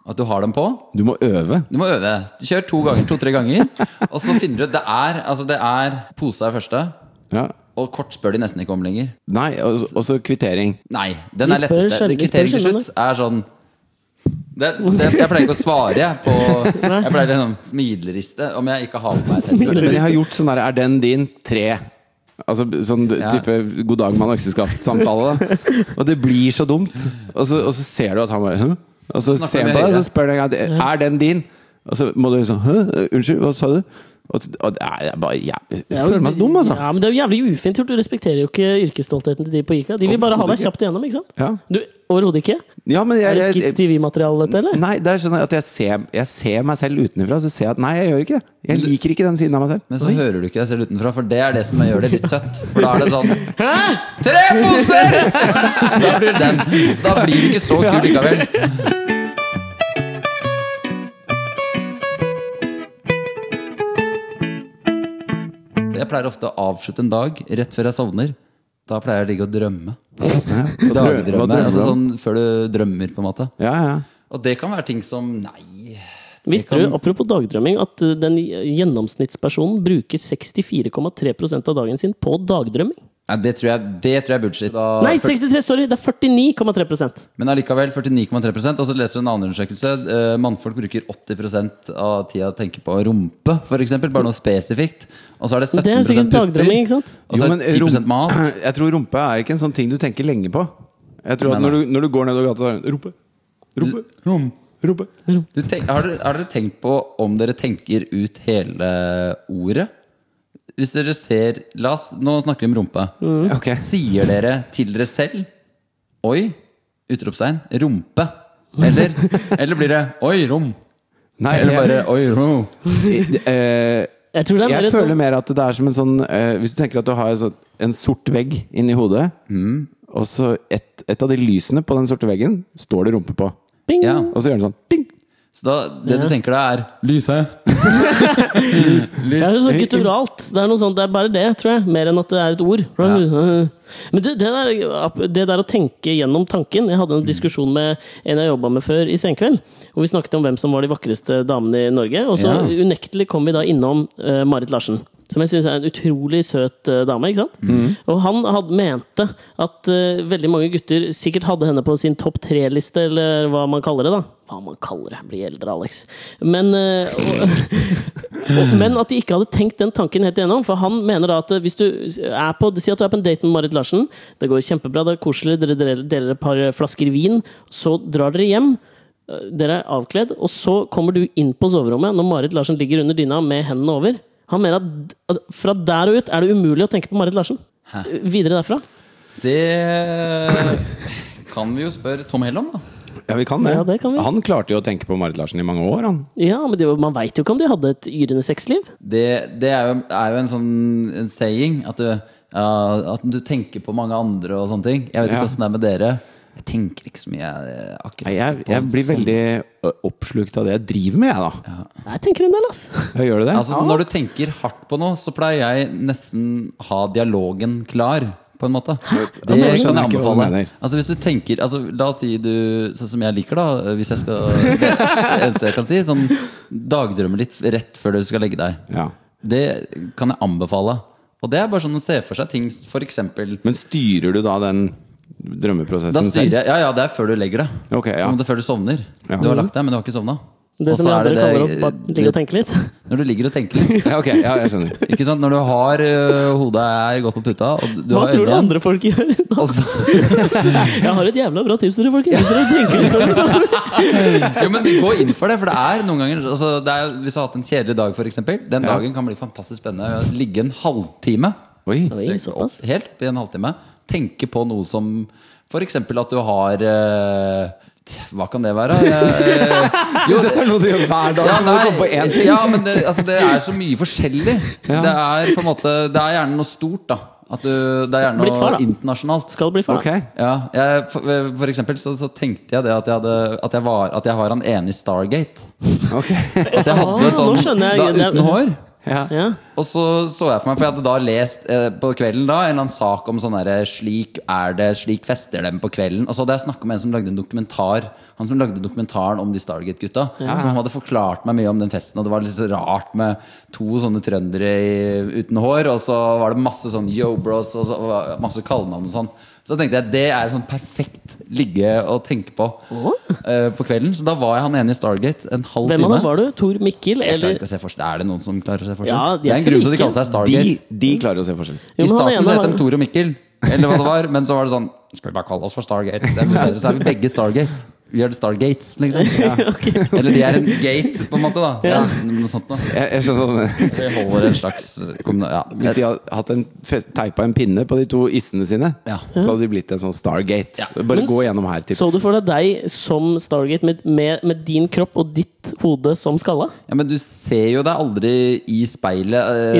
Speaker 2: at du har dem på.
Speaker 3: Du må øve.
Speaker 2: Du må øve. Du kjører to ganger, to-tre ganger. Og så finner du ut det er, altså det er pose er første,
Speaker 3: Ja.
Speaker 2: og kort spør de nesten ikke om lenger.
Speaker 3: Nei, og og så kvittering.
Speaker 2: Nei, den
Speaker 1: De
Speaker 2: er
Speaker 1: spør
Speaker 2: letteste.
Speaker 1: sjelden- de spør
Speaker 2: Kvittering til
Speaker 1: sjelden,
Speaker 2: slutt er sånn det, det, Jeg pleier ikke å svare jeg, på Jeg pleier liksom smileriste om jeg ikke har på meg headset.
Speaker 3: Men jeg har gjort sånn der Er den din? Tre. Altså sånn
Speaker 2: Ja.
Speaker 3: type god dag, mann, økseskaft-samtale. da. Og det blir så dumt. Og så, og så ser du at han bare Hø? Og så
Speaker 2: Snakker
Speaker 3: ser han
Speaker 2: med
Speaker 3: på deg, og
Speaker 2: høyre.
Speaker 3: så spør han en gang til, Er den din? Og så må du sånn Hø? Unnskyld, hva sa du? Og, så- og det er det er bare jævlig Jeg føler meg så dum, altså.
Speaker 1: Ja, men det er jo jævlig ufint gjort. Du respekterer jo ikke yrkesstoltheten til de på ICA. De vil bare ha deg kjapt igjennom, ikke sant?
Speaker 3: Ja,
Speaker 1: Du, Overhodet ikke?
Speaker 3: ja men
Speaker 1: Er
Speaker 3: jeg,
Speaker 1: det
Speaker 3: jeg,
Speaker 1: Skits TV-materiale, dette, eller?
Speaker 3: Nei, det er sånn at jeg ser, jeg ser meg selv utenfra, så ser jeg at Nei, jeg gjør ikke det. Jeg liker ikke den siden av meg selv.
Speaker 2: Men så hører du ikke deg selv utenfra, for det er det som gjør det litt søtt. For da er det sånn Hæ?! Tre poser! Da blir det den. Så da blir det ikke så kult likevel. Jeg pleier ofte å avslutte en dag rett før jeg sovner. Da pleier jeg å ligge og drømme.
Speaker 3: Hva drø- hva
Speaker 2: Dagdrømme.
Speaker 3: drømmer du
Speaker 2: Altså
Speaker 3: om?
Speaker 2: sånn før du drømmer, på en måte.
Speaker 3: Ja, ja.
Speaker 2: Og det kan være ting som Nei,
Speaker 1: Visste du, apropos dagdrømming, at eh, den gjennomsnittspersonen bruker 64,3 av dagen sin på dagdrømming?
Speaker 2: Nei, det tror jeg, det tror jeg er bullshit. Da-
Speaker 1: Nei, 63, sorry! Det er 49,3
Speaker 2: Men allikevel 49,3 Og så leser du en annen undersøkelse. eh, Mannfolk bruker 80 av tida å tenke på rumpe, f.eks. Bare noe spesifikt. Og så er det 17
Speaker 1: Det er sikkert
Speaker 2: pupper,
Speaker 1: dagdrømming, ikke sant?
Speaker 2: Og så er det Altså, 10 mat.
Speaker 3: jeg tror rumpe er ikke en sånn ting du tenker lenge på. Jeg tror at når du, når du går nedover gata, så er det rumpe, rumpe, rumpe.
Speaker 2: Du tenk, har, dere, har dere tenkt på om dere tenker ut hele ordet? Hvis dere ser La oss, Nå snakker vi om rumpe.
Speaker 1: Mm.
Speaker 3: Ok.
Speaker 2: Sier dere til dere selv Oi! Utropstegn. Rumpe. Eller, eller blir det Oi, rom.
Speaker 3: Nei,
Speaker 2: Eller
Speaker 3: jeg,
Speaker 2: bare Oi, rom.
Speaker 3: eh,
Speaker 1: Jeg tror det er mer
Speaker 3: jeg
Speaker 1: et sånn
Speaker 3: føler mer at det er som en sånn eh, Hvis du tenker at du har en, sånn, en sort vegg inni hodet,
Speaker 2: Mm.
Speaker 3: og så et, et av de lysene på den sorte veggen står det rumpe på.
Speaker 1: bing!
Speaker 2: Ja.
Speaker 3: Og så gjør den sånn ding!
Speaker 2: Så da, det du tenker da, er Lyse.
Speaker 1: Det er jo sånn gutturalt. Det er noe sånt, det er bare det, tror jeg. Mer enn at det er et ord. Men du, det der, det der å tenke gjennom tanken Jeg hadde en diskusjon med en jeg jobba med før i Senkveld. Hvor vi snakket om hvem som var de vakreste damene i Norge. Og så
Speaker 2: Ja.
Speaker 1: unektelig kom vi da innom eh, Marit Larsen. Som jeg syns er en utrolig søt eh, dame. ikke sant? Og han had, mente at eh, veldig mange gutter sikkert hadde henne på sin topp tre-liste, eller hva man kaller det. da. Hva man kaller det. Blir eldre, Alex. Men, eh, og, og, men at de ikke hadde tenkt den tanken helt igjennom. For han mener da at eh, hvis du er på Si at du er på en date med Marit Larsen. Det går kjempebra, det er koselig, dere deler- deler et par flasker vin. Så drar dere hjem. eh, Dere er avkledd, og så kommer du inn på soverommet når Marit Larsen ligger under dyna med hendene over. Han mener at- at fra der og ut er det umulig å tenke på Marit Larsen. Videre derfra.
Speaker 2: Det kan vi jo spørre Tom Hell om, da.
Speaker 3: Ja, vi kan det.
Speaker 1: Ja, det kan vi.
Speaker 3: Han klarte jo å tenke på Marit Larsen i mange år, han.
Speaker 1: Ja, men det, var- Man veit jo ikke om de hadde et yrende sexliv.
Speaker 2: Det, det er, jo, er jo en sånn en saying at du, ja, at du tenker på mange andre og sånne ting. Jeg vet
Speaker 3: Ja.
Speaker 2: ikke åssen det er med dere. Jeg tenker ikke så mye eh, akkurat
Speaker 3: Nei, jeg,
Speaker 2: på
Speaker 3: jeg blir
Speaker 2: sånn-
Speaker 3: veldig ø, oppslukt av det jeg driver med, jeg, da.
Speaker 1: Jeg tenker en del, ass.
Speaker 3: Jeg gjør det?
Speaker 2: Altså, Når du tenker hardt på noe, så pleier jeg nesten ha dialogen klar. På en måte. Det kan
Speaker 3: men jeg
Speaker 2: jeg
Speaker 3: skjønner ikke hva du
Speaker 2: anbefale.
Speaker 3: mener.
Speaker 2: Altså hvis du tenker altså, La oss si du, sånn som jeg liker, da hvis jeg skal, Det eneste jeg kan si. Sånn dagdrømmer litt rett før du skal legge deg.
Speaker 3: Ja.
Speaker 2: Det kan jeg anbefale. Og det er bare sånn å se for seg ting, f.eks.
Speaker 3: Men styrer du da den
Speaker 2: Da
Speaker 3: drømmeprosessen
Speaker 2: styrer jeg Ja, ja, det er før du legger deg.
Speaker 3: Sånn Ok, ja.
Speaker 2: På en måte Før du sovner.
Speaker 3: Ja.
Speaker 2: Du har lagt deg, men du har ikke sovna.
Speaker 1: Det
Speaker 2: Og
Speaker 1: som
Speaker 2: så
Speaker 1: jeg
Speaker 2: er
Speaker 1: andre
Speaker 2: det
Speaker 1: kaller
Speaker 2: det-
Speaker 1: opp at ligge og tenke litt.
Speaker 2: Når du ligger og tenker.
Speaker 3: Ja, ok, ja, jeg skjønner.
Speaker 2: Ikke sant? Når du har øh, hodet er godt på puta og du, du
Speaker 1: Hva
Speaker 2: har
Speaker 1: tror du
Speaker 2: øynene Altså, igjen,
Speaker 1: andre folk gjør?
Speaker 2: og så,
Speaker 1: Jeg har et jævla bra tips til dere, folkens. Hvis dere tenker litt over det, liksom. så-
Speaker 2: jo, men Gå inn for det, for det er noen ganger altså, det er, Hvis du har hatt en kjedelig dag, f.eks. Den
Speaker 3: Ja.
Speaker 2: dagen kan bli fantastisk spennende. Ligge en halvtime
Speaker 3: Oi.
Speaker 1: Oi, såpass.
Speaker 2: opp helt i en halvtime. Tenke på noe som f.eks. at du har øh, Hva kan det være? Eh, eh, jo,
Speaker 3: Dette er noe du gjør hver dag.
Speaker 2: Ja,
Speaker 3: så må du
Speaker 2: nei,
Speaker 3: komme på én ting.
Speaker 2: ja, men det, altså, det er så mye forskjellig. Det er på en måte Det er gjerne noe stort, da. At du, det er gjerne
Speaker 1: Blitt
Speaker 2: noe
Speaker 1: far, da.
Speaker 2: internasjonalt.
Speaker 1: Skal bli far.
Speaker 3: Ok.
Speaker 2: Ja, jeg, for, for eksempel så, så tenkte jeg det at jeg, hadde, at, jeg var, at jeg har han ene i Stargate.
Speaker 3: ok.
Speaker 2: At jeg
Speaker 1: Ah,
Speaker 2: hadde
Speaker 1: nå
Speaker 2: sånn
Speaker 1: skjønner jeg.
Speaker 2: da,
Speaker 1: Det er-
Speaker 2: uten hår.
Speaker 3: Ja.
Speaker 1: Ja.
Speaker 2: Og så så jeg for meg, for jeg hadde da lest eh, på kvelden da en eller annen sak om sånn derre Slik er det, slik fester dem på kvelden. Og så hadde jeg snakka med en som lagde en dokumentar Han som lagde dokumentaren om de Stargate-gutta. Så han hadde forklart meg mye om den festen, og det var litt så rart med to sånne trøndere i, uten hår, og så var det masse sånn yo bros og så, og masse kallenavn og sånn. Så tenkte jeg det er sånn perfekt ligge og tenke på eh, på kvelden. Så da var jeg han ene i Stargate en halv
Speaker 1: Hvem av
Speaker 2: time.
Speaker 1: dem var du? Tor Mikkel,
Speaker 2: Jeg klarer
Speaker 1: eller
Speaker 2: ikke å se forskjell. Er det noen som klarer å se forskjell?
Speaker 1: Ja, de
Speaker 2: det
Speaker 1: er
Speaker 2: er en
Speaker 1: så
Speaker 2: grunn til at de
Speaker 1: like.
Speaker 2: kaller seg
Speaker 3: De,
Speaker 2: Stargate.
Speaker 3: de klarer å se forskjell.
Speaker 1: Jo, men
Speaker 2: I
Speaker 1: han
Speaker 2: starten så
Speaker 1: ene
Speaker 2: het de
Speaker 1: var-
Speaker 2: Tor og Mikkel, eller hva det var. Men så var det sånn Skal vi bare kalle oss for Stargate? Det er mye bedre, så er vi begge Stargate. Vi er the Stargates, liksom. Eller de er en gate, på en måte. da ja.
Speaker 1: Ja.
Speaker 2: Noe sånt noe.
Speaker 3: Jeg, jeg skjønner hva du mener.
Speaker 2: Vi holder en slags kombina- ja.
Speaker 3: Hvis de hadde hatt en, fe- teipa en pinne på de to issene sine,
Speaker 2: Ja.
Speaker 3: så hadde de blitt en sånn Stargate.
Speaker 2: Ja.
Speaker 3: Bare
Speaker 1: Men
Speaker 3: gå
Speaker 1: s-
Speaker 3: gjennom her. Typ.
Speaker 1: Så du for deg deg som Stargate med, med, med din kropp og ditt hode som skalla?
Speaker 2: ja, Men du ser jo deg aldri i speilet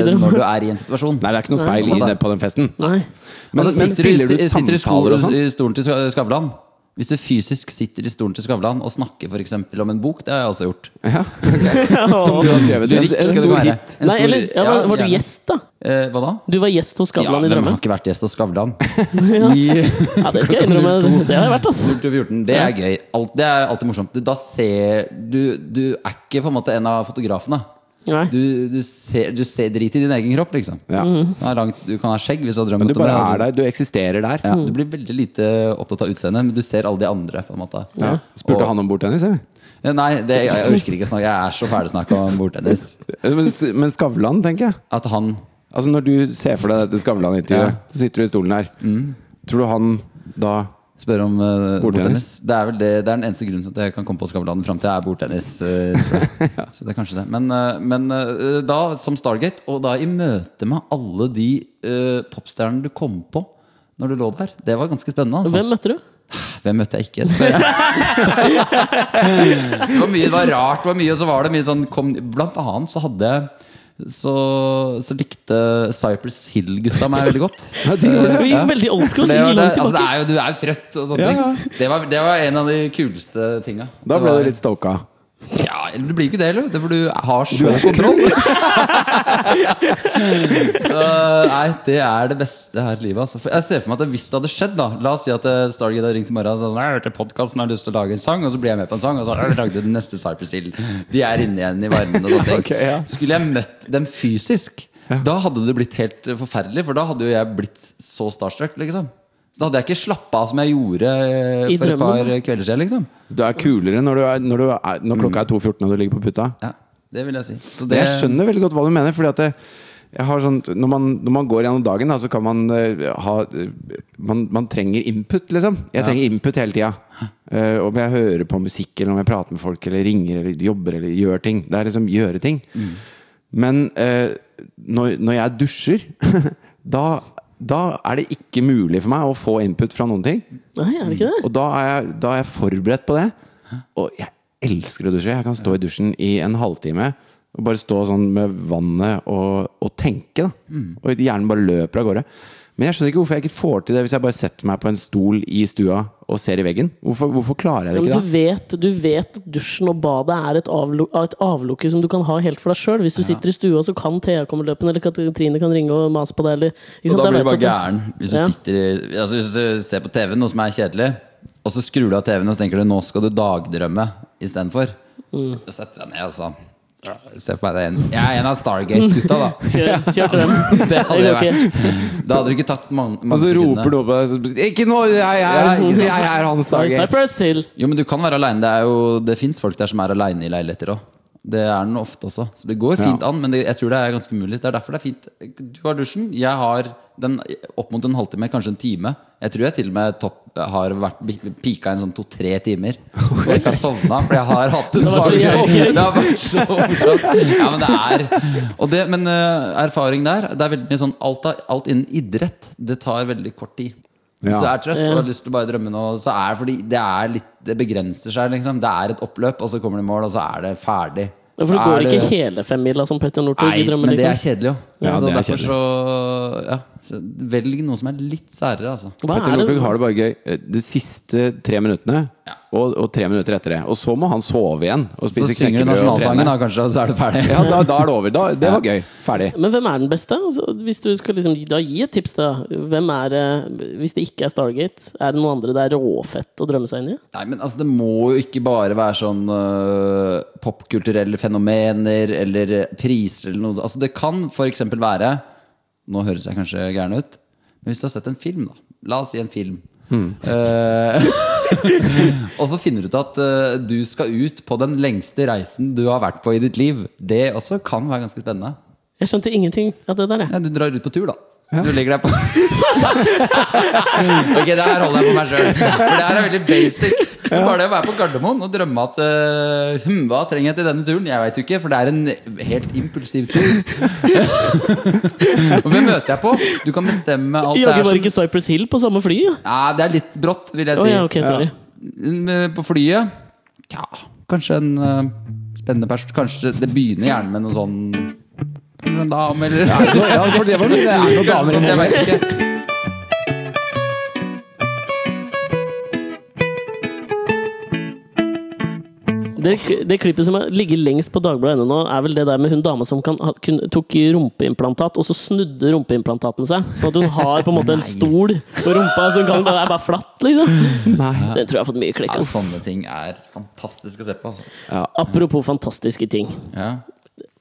Speaker 1: I
Speaker 2: eh,
Speaker 1: drømmen.
Speaker 2: når du er i en situasjon.
Speaker 3: Nei, det er ikke noe speil
Speaker 2: Nei.
Speaker 3: inne på den festen.
Speaker 1: Nei.
Speaker 3: Men,
Speaker 2: altså,
Speaker 3: men
Speaker 2: sitter,
Speaker 3: spiller
Speaker 2: du,
Speaker 3: du
Speaker 2: sitter i
Speaker 3: samtaler
Speaker 2: skolen
Speaker 3: og sånn?
Speaker 2: i stolen til Ska- Skavlan, Hvis du fysisk sitter i stolen til Skavlan og snakker for eksempel om en bok, det har jeg også gjort.
Speaker 3: Som du har skrevet.
Speaker 2: Du
Speaker 3: En,
Speaker 2: liker
Speaker 3: en
Speaker 2: det
Speaker 3: stor
Speaker 2: være.
Speaker 3: hit.
Speaker 2: En
Speaker 1: Nei,
Speaker 2: stor-
Speaker 1: eller ja, var, var du
Speaker 2: gjerne.
Speaker 1: gjest, da?
Speaker 2: Eh, hva da?
Speaker 1: Du var gjest hos
Speaker 2: Ja,
Speaker 1: Skavlan i
Speaker 2: hvem
Speaker 1: Drømmen.
Speaker 2: har ikke vært gjest hos Skavlan? I
Speaker 1: Ja, det skal jeg innrømme. Det har jeg vært, altså.
Speaker 2: 14. Det er gøy. Alt, det er alltid morsomt. Du, da ser, du, du er ikke på en måte en av fotografene.
Speaker 1: Nei.
Speaker 2: Du, du, ser, du ser drit i din egen kropp, liksom.
Speaker 3: Ja.
Speaker 2: Du, har langt, du kan ha skjegg hvis du har drømt
Speaker 3: Men du
Speaker 2: om det.
Speaker 3: bare
Speaker 2: altså.
Speaker 3: er der. Du eksisterer der.
Speaker 1: Mm.
Speaker 2: Ja, du blir veldig lite opptatt av utseendet, men du ser alle de andre. på en måte
Speaker 3: Ja. Spurte han om bordtennis, eller?
Speaker 2: Ja, Nei, det, jeg, jeg orker ikke snakke. Jeg er så ferdig snakka om bordtennis.
Speaker 3: Eh, Men, men Skavlan, tenker jeg.
Speaker 2: At han
Speaker 3: Altså Når du ser for deg dette Skavlan-intervjuet,
Speaker 2: Ja. Mm.
Speaker 3: så sitter du i stolen her. Tror du han da
Speaker 2: spør om eh, bordtennis.
Speaker 3: Bordtennis.
Speaker 2: Det er vel det, det er den eneste grunnen til at jeg kan komme på Skavlan fram til jeg er bordtennis. eh, tror jeg. Så det er kanskje det. Men, eh, men eh, da, som Stargate, og da i møte med alle de eh, popstjernene du kom på når du lå der, det var ganske spennende. Altså.
Speaker 1: Hvem møtte du?
Speaker 2: Hvem møtte jeg ikke? spør jeg. det, var mye, det var rart. Det var mye, og så var det mye sånn kom, Blant annet så hadde jeg så, så likte Cypress Hill-gutta meg veldig godt.
Speaker 3: Ja, de gjorde det.
Speaker 1: Vi
Speaker 2: Ja.
Speaker 1: gikk veldig old school.
Speaker 2: Det,
Speaker 1: gikk
Speaker 2: var, det,
Speaker 1: langt
Speaker 2: altså, det
Speaker 1: tilbake.
Speaker 2: er jo, du er jo trøtt og sånne
Speaker 3: Ja, ja.
Speaker 2: ting. Det var, det var en av de kuleste tinga.
Speaker 3: Da ble du litt stoka.
Speaker 2: ja, Du blir ikke det, eller? vet du, For du har så kontroll. så Eh, nei, det er det beste her i livet. Altså. For jeg ser for meg at hvis det hadde skjedd, da La oss si at eh, Stargate hadde ringt i morgen og sagt sånn, jeg hørte podkasten, har lyst til å lage en sang, og så blir jeg med på en sang, og så «Jeg lagde den neste Cypress Hill. De er inne igjen i varmen og sånne ting.
Speaker 3: Ok, ja.
Speaker 2: Skulle jeg møtt dem fysisk, da hadde det blitt helt eh, forferdelig, for da hadde jo jeg blitt så starstruck, liksom. Så da hadde jeg ikke slappa av som jeg gjorde eh,
Speaker 1: I
Speaker 2: for et
Speaker 1: drømmen.
Speaker 2: par kvelder siden, liksom.
Speaker 3: Du er kulere når, du er, når, du er, når klokka er 2.14 og du ligger på puta.
Speaker 2: Ja, det vil jeg si. Så
Speaker 3: Men Jeg skjønner veldig godt hva du mener. Fordi at det, jeg har sånn, når, man, når man går gjennom dagen, da, så kan man eh, ha eh, man, man trenger input, liksom. Jeg trenger input hele tida. Eh, om jeg hører på musikk, eller om jeg prater med folk, eller ringer, eller jobber, eller gjør ting. Det er liksom gjøre ting.
Speaker 2: Mm.
Speaker 3: Men eh, når, når jeg dusjer, da, da er det ikke mulig for meg å få input fra noen ting.
Speaker 1: Nei, er det ikke det?
Speaker 3: Og da er, jeg, da er jeg forberedt på det. Og jeg elsker å dusje. Jeg kan stå i dusjen i en halvtime og bare stå sånn med vannet og, og tenke. Da.
Speaker 2: Mm.
Speaker 3: Og hjernen bare løper av gårde. Men jeg skjønner ikke hvorfor jeg ikke får til det hvis jeg bare setter meg på en stol i stua og ser i veggen. Hvorfor, hvorfor klarer jeg det
Speaker 1: Men
Speaker 3: ikke
Speaker 1: du
Speaker 3: da?
Speaker 1: vet, du vet at dusjen og badet er et, avlu et avlukke som du kan ha helt for deg sjøl. Hvis du sitter i stua, så kan Thea komme løpende, eller Katrine kan ringe og mase på deg. Eller, ikke
Speaker 2: Og
Speaker 1: sant?
Speaker 2: da
Speaker 1: vet
Speaker 2: blir du bare
Speaker 1: at
Speaker 2: gæren hvis du
Speaker 1: Ja.
Speaker 2: sitter i altså Hvis du ser på TV noe som er kjedelig, og så skrur du av TV-en og så tenker du nå skal du dagdrømme istedenfor. Så setter jeg ned og så ja, Se for meg det er en Jeg er en av Stargate-gutta, da.
Speaker 1: Kjør, kjør til den. Det
Speaker 2: Det hadde jeg
Speaker 1: går ikke.
Speaker 2: vært. Da hadde du ikke tatt mange,
Speaker 3: Og
Speaker 2: mange
Speaker 3: så roper
Speaker 2: sekundene.
Speaker 3: noen på deg så- Ikke nå! Jeg er,
Speaker 2: Ja, ikke sant.
Speaker 3: jeg er Hans Dager!
Speaker 1: Cypress Hill.
Speaker 2: Jo, men du kan være aleine. Det, er jo- det fins folk der som er aleine i leiligheter òg. Det er den ofte også. Så det går fint
Speaker 3: Ja.
Speaker 2: an, men det, jeg tror det er ganske mulig. Det er derfor det er fint. Du har dusjen, jeg har den opp mot en halvtime, kanskje en time. Jeg tror jeg til og med topp, har vært pika en sånn to-tre timer. Og jeg ikke har sovna, for jeg har hatt det
Speaker 1: Det
Speaker 2: så
Speaker 1: har vært så jævlig gøy.
Speaker 2: Det har vært så morsomt. Ja, men det er og det, Men eh, erfaring der Det er veldig mye sånn alt, av- alt innen idrett, det tar veldig kort tid. Hvis
Speaker 3: Ja.
Speaker 2: du er trøtt og har lyst til å bare drømme nå, så er det fordi det er litt Det begrenser seg, liksom. Det er et oppløp, og så kommer det mål, og så er det ferdig.
Speaker 1: Ja, For du
Speaker 2: Så
Speaker 1: går
Speaker 2: er
Speaker 1: ikke
Speaker 2: det-
Speaker 1: hele femmila som Petter Northug
Speaker 2: Nei,
Speaker 1: i drømmen?
Speaker 2: men det er
Speaker 1: Liksom.
Speaker 2: kjedelig, jo.
Speaker 3: Ja,
Speaker 2: så
Speaker 3: det er
Speaker 2: derfor
Speaker 3: kjedelig.
Speaker 2: så Ja. Så velg noe som er litt særere, altså.
Speaker 1: Hva
Speaker 3: Petter
Speaker 1: er det?
Speaker 3: Northug har det bare gøy eh, de siste tre minuttene.
Speaker 2: Ja.
Speaker 3: Og, og tre minutter etter det. Og så må han sove igjen. Og
Speaker 2: Så
Speaker 3: spise
Speaker 2: synger du
Speaker 3: knekkebrød og
Speaker 2: nasjonalsangen,
Speaker 3: trene.
Speaker 2: da, kanskje, og så er du ferdig.
Speaker 3: Ja, da, da er det over. Da, det var gøy. Ferdig.
Speaker 1: Men hvem er den beste? Altså, hvis du skal liksom, gi- da gi et tips, da. Hvem er, eh, hvis det ikke er Stargate, er det noen andre det er råfett å drømme seg inn i?
Speaker 2: Nei, men altså, det må jo ikke bare være sånn øh, popkulturelle fenomener eller priser eller noe. Altså, det kan f.eks. være Nå høres jeg kanskje gæren ut, men hvis du har sett en film, da. La oss si en film. Eh, og så finner du ut at eh, du skal ut på den lengste reisen du har vært på i ditt liv. Det også kan være ganske spennende.
Speaker 1: Jeg skjønte ingenting av det der, jeg.
Speaker 2: Ja, du drar ut på tur, da. Du legger deg på Ok, det her holder jeg på meg sjøl. For det her er veldig basic. Men Bare det å være på Gardermoen og drømme at øh, hm, Hva trenger jeg til denne turen? Jeg veit jo ikke, for det er en helt impulsiv tur. og hvem møter jeg på? Du kan bestemme alt det
Speaker 1: Jaggu
Speaker 2: er
Speaker 1: var
Speaker 2: som
Speaker 1: ikke Cypress Hill på samme fly? Ja.
Speaker 2: ja, Det er litt brått, vil jeg
Speaker 1: Å
Speaker 2: si.
Speaker 1: ja, ok, sorry.
Speaker 2: Mm, På flyet ja, Kanskje en øh, spennende person Kanskje det begynner gjerne med noe sånn Kanskje en dame, eller
Speaker 3: Så, ja, for det var mye. Det er noen damer i
Speaker 2: jeg vet ikke.
Speaker 1: Det, det klippet som er- ligger lengst på Dagbladet ennå nå, er vel det der med hun dama som kan, ha- kun, tok rumpeimplantat, og så snudde rumpeimplantaten seg. Sånn at hun har på en måte en stol på rumpa som kan bare, er bare flatt, liksom.
Speaker 3: Nei.
Speaker 1: Den tror jeg har fått mye klikk.
Speaker 2: Ja,
Speaker 1: Altså.
Speaker 2: sånne ting er fantastisk å se på. Altså.
Speaker 1: Apropos fantastiske ting.
Speaker 2: Ja.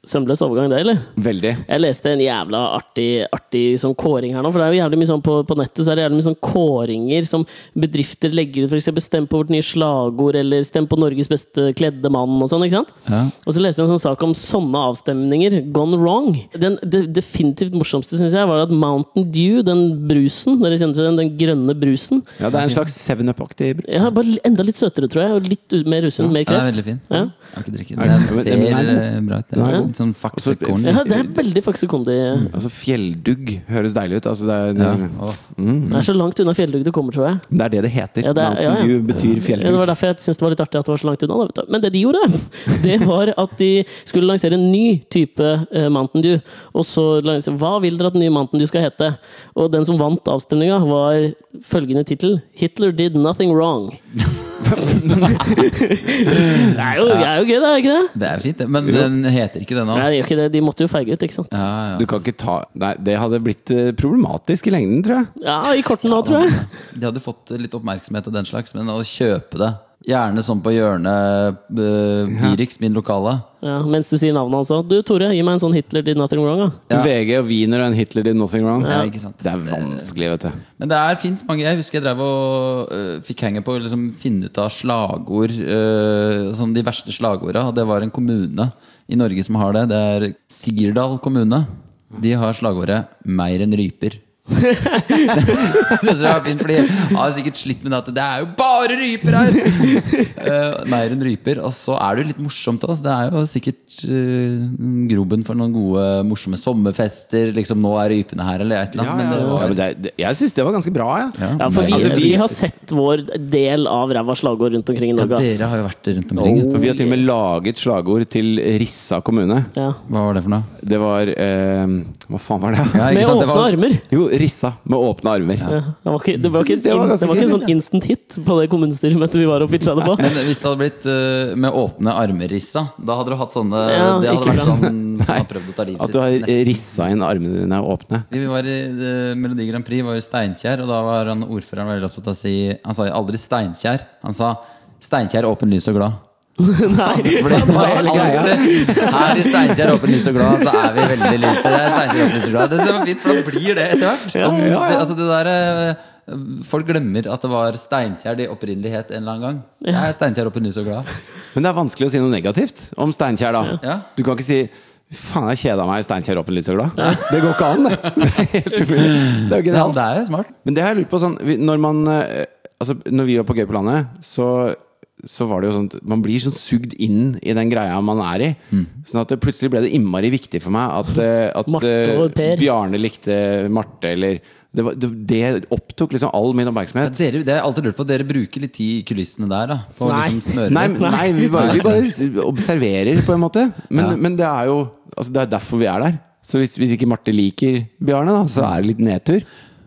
Speaker 1: Sømløs overgang, det, eller?
Speaker 3: Veldig.
Speaker 1: Jeg leste en jævla artig, artig sånn kåring her nå, for det er jo jævlig mye sånn på, på nettet så er det jævlig mye sånn kåringer som bedrifter legger ut, f.eks. stem på vårt nye slagord, eller stem på Norges beste kledde mann, og sånn, ikke sant?
Speaker 2: Ja.
Speaker 1: Og så leste jeg en sånn sak om sånne avstemninger, gone wrong. Den det, definitivt morsomste, syns jeg, var at Mountain Dew, den brusen, dere kjenner til den, den grønne brusen,
Speaker 3: Ja, det er en slags Seven Up-aktig brus.
Speaker 1: ja, bare li- enda litt søtere, tror jeg, og litt u- mer rusund, mer
Speaker 2: Den er
Speaker 1: kreft.
Speaker 2: veldig fin.
Speaker 1: Ja.
Speaker 2: Jeg har ikke drukket den.
Speaker 3: Er den-
Speaker 2: Den
Speaker 3: den er
Speaker 2: ser
Speaker 3: god.
Speaker 2: eh, bra ut.
Speaker 3: Den er
Speaker 2: Ja.
Speaker 3: god.
Speaker 2: Litt sånn
Speaker 3: Også-
Speaker 2: faksekorn.
Speaker 1: Ja, det er veldig faksekondi.
Speaker 3: Altså Fjelldugg høres deilig ut. Altså, det, er,
Speaker 2: Ja. Å,
Speaker 1: Det er så langt unna fjelldugg du kommer, tror jeg.
Speaker 3: det er det det heter.
Speaker 1: Ja, det er- ja, ja.
Speaker 3: Mountain Dew betyr
Speaker 1: Ja, det var
Speaker 3: fjelldugg.
Speaker 1: derfor jeg syntes det var litt artig at det var så langt unna. Da, vet du. Men det de gjorde, det var at de skulle lansere en ny type eh, Mountain Dew. Og så lansere, Hva vil dere at den nye Mountain Dew skal hete? Og den som vant avstemninga, var følgende tittel Hitler did nothing wrong. det, er jo, det er jo gøy, det, er det ikke det?
Speaker 2: Det er fint, det. Men den heter ikke det nå.
Speaker 1: Nei, det gjør ikke det. De måtte jo feige ut, ikke sant?
Speaker 2: Ja,
Speaker 3: Du
Speaker 2: ja.
Speaker 3: kan ikke ta Nei, det hadde blitt eh, problematisk i lengden, tror jeg.
Speaker 1: Ja, i korten nå, tror jeg.
Speaker 2: De hadde fått litt oppmerksomhet og den slags, men å kjøpe det Gjerne sånn på hjørnet uh, Birix, min lokale.
Speaker 1: Ja, mens du sier navnet hans òg. Du, Tore, gi meg en sånn Hitler did nothing wrong, da.
Speaker 2: Ja.
Speaker 3: VG og Wiener og en Hitler did nothing wrong.
Speaker 2: Ja, ikke sant.
Speaker 3: Det er vanskelig, vet du.
Speaker 2: Men det er fins mange Jeg husker jeg drev og øh, fikk henge på å liksom, finne ut av slagord. øh, sånn de verste slagorda. Og det var en kommune i Norge som har det. Det er Sirdal kommune. De har slagordet 'meir enn ryper'. det synes jeg var fint, fordi jeg har sikkert slitt med det at det er jo bare ryper her! Eh, mer enn ryper. Og så er det jo litt morsomt også. Det er jo sikkert uh, grobunn for noen gode, morsomme sommerfester. Liksom 'nå er rypene her', eller et eller
Speaker 3: Ja,
Speaker 2: annet.
Speaker 3: ja,
Speaker 2: men det
Speaker 3: ja,
Speaker 2: var,
Speaker 3: men det, er- det- jeg syns det var ganske bra, jeg. Ja.
Speaker 1: Ja, for vi,
Speaker 3: Altså,
Speaker 1: vi
Speaker 3: vi-
Speaker 1: har sett vår del av ræva slagord rundt omkring i
Speaker 2: Ja,
Speaker 1: Norge. ass.
Speaker 2: dere har jo vært rundt omkring. vet du.
Speaker 3: Vi har til og med laget slagord til Rissa kommune.
Speaker 1: Ja.
Speaker 2: Hva var det for noe?
Speaker 3: Det var eh, Hva faen var det?
Speaker 2: Ja, ikke
Speaker 1: Med
Speaker 2: sant, det
Speaker 1: åpne
Speaker 2: var-
Speaker 1: armer!
Speaker 3: Jo, Rissa med åpne armer.
Speaker 1: Ja, det var ikke, det var ikke,
Speaker 3: Jeg synes det var
Speaker 1: en- det var ikke en
Speaker 3: ganske
Speaker 1: sånn instant hit på det kommunestyremøtet vi var og pitcha det på.
Speaker 2: Men hvis det hadde blitt eh, med åpne armer, Rissa, da hadde du hatt sånne
Speaker 1: Ja,
Speaker 2: Det hadde
Speaker 1: ikke
Speaker 2: vært
Speaker 1: bra.
Speaker 2: sånn som har prøvd å ta livet
Speaker 3: At du har
Speaker 2: sitt. nesten.
Speaker 3: rissa inn armene dine er åpne.
Speaker 2: Vi var i eh, Melodi Grand Prix, var i Steinkjer, og da var han ordføreren veldig opptatt av å si Han sa aldri Steinkjer. Han sa Steinkjer, åpen, lys og glad.
Speaker 1: Nei,
Speaker 2: Altså, For det som er
Speaker 1: sånn
Speaker 3: hele greia.
Speaker 2: alltid Her i Steinkjer, åpen, lys og glad, så er vi veldig lyse. Det er Steinkjer, åpen, lys og glad. Det synes jeg var fint, for da blir det etter hvert. Det, altså, det der, eh, folk glemmer at det var Steinkjer de opprinnelig het en eller annen gang. Det er Steinkjer, åpen, lys og glad.
Speaker 3: Men det er vanskelig å si noe negativt om Steinkjer, da.
Speaker 2: Ja.
Speaker 3: Du kan ikke si "Fy Faen, jeg kjeda meg i Steinkjer åpen lys og glad. Det går ikke an, det! Det er helt umulig. Det er jo
Speaker 2: Ja,
Speaker 3: genialt.
Speaker 2: det er jo smart.
Speaker 3: Men det har jeg lurt på sånn vi- Når man eh, Altså, når vi var på Gøy på landet, så så var det jo sånn at Man blir sånn sugd inn i den greia man er i. Sånn at det plutselig ble det innmari viktig for meg at, eh, at
Speaker 1: Marte
Speaker 3: eh,
Speaker 1: og Per.
Speaker 3: Bjarne likte Marte, eller det, var, det, det opptok liksom all min
Speaker 2: Ja,
Speaker 3: oppmerksomhet.
Speaker 2: dere, det har jeg alltid lurt på. Dere bruker litt tid i kulissene der, da. På å
Speaker 1: Nei.
Speaker 2: liksom smøre
Speaker 3: Nei,
Speaker 2: litt.
Speaker 3: nei vi, bare, vi bare observerer, på en måte. Men, men det er jo altså, Det er derfor vi er der. Så hvis, hvis ikke Marte liker Bjarne, da, så er det litt nedtur.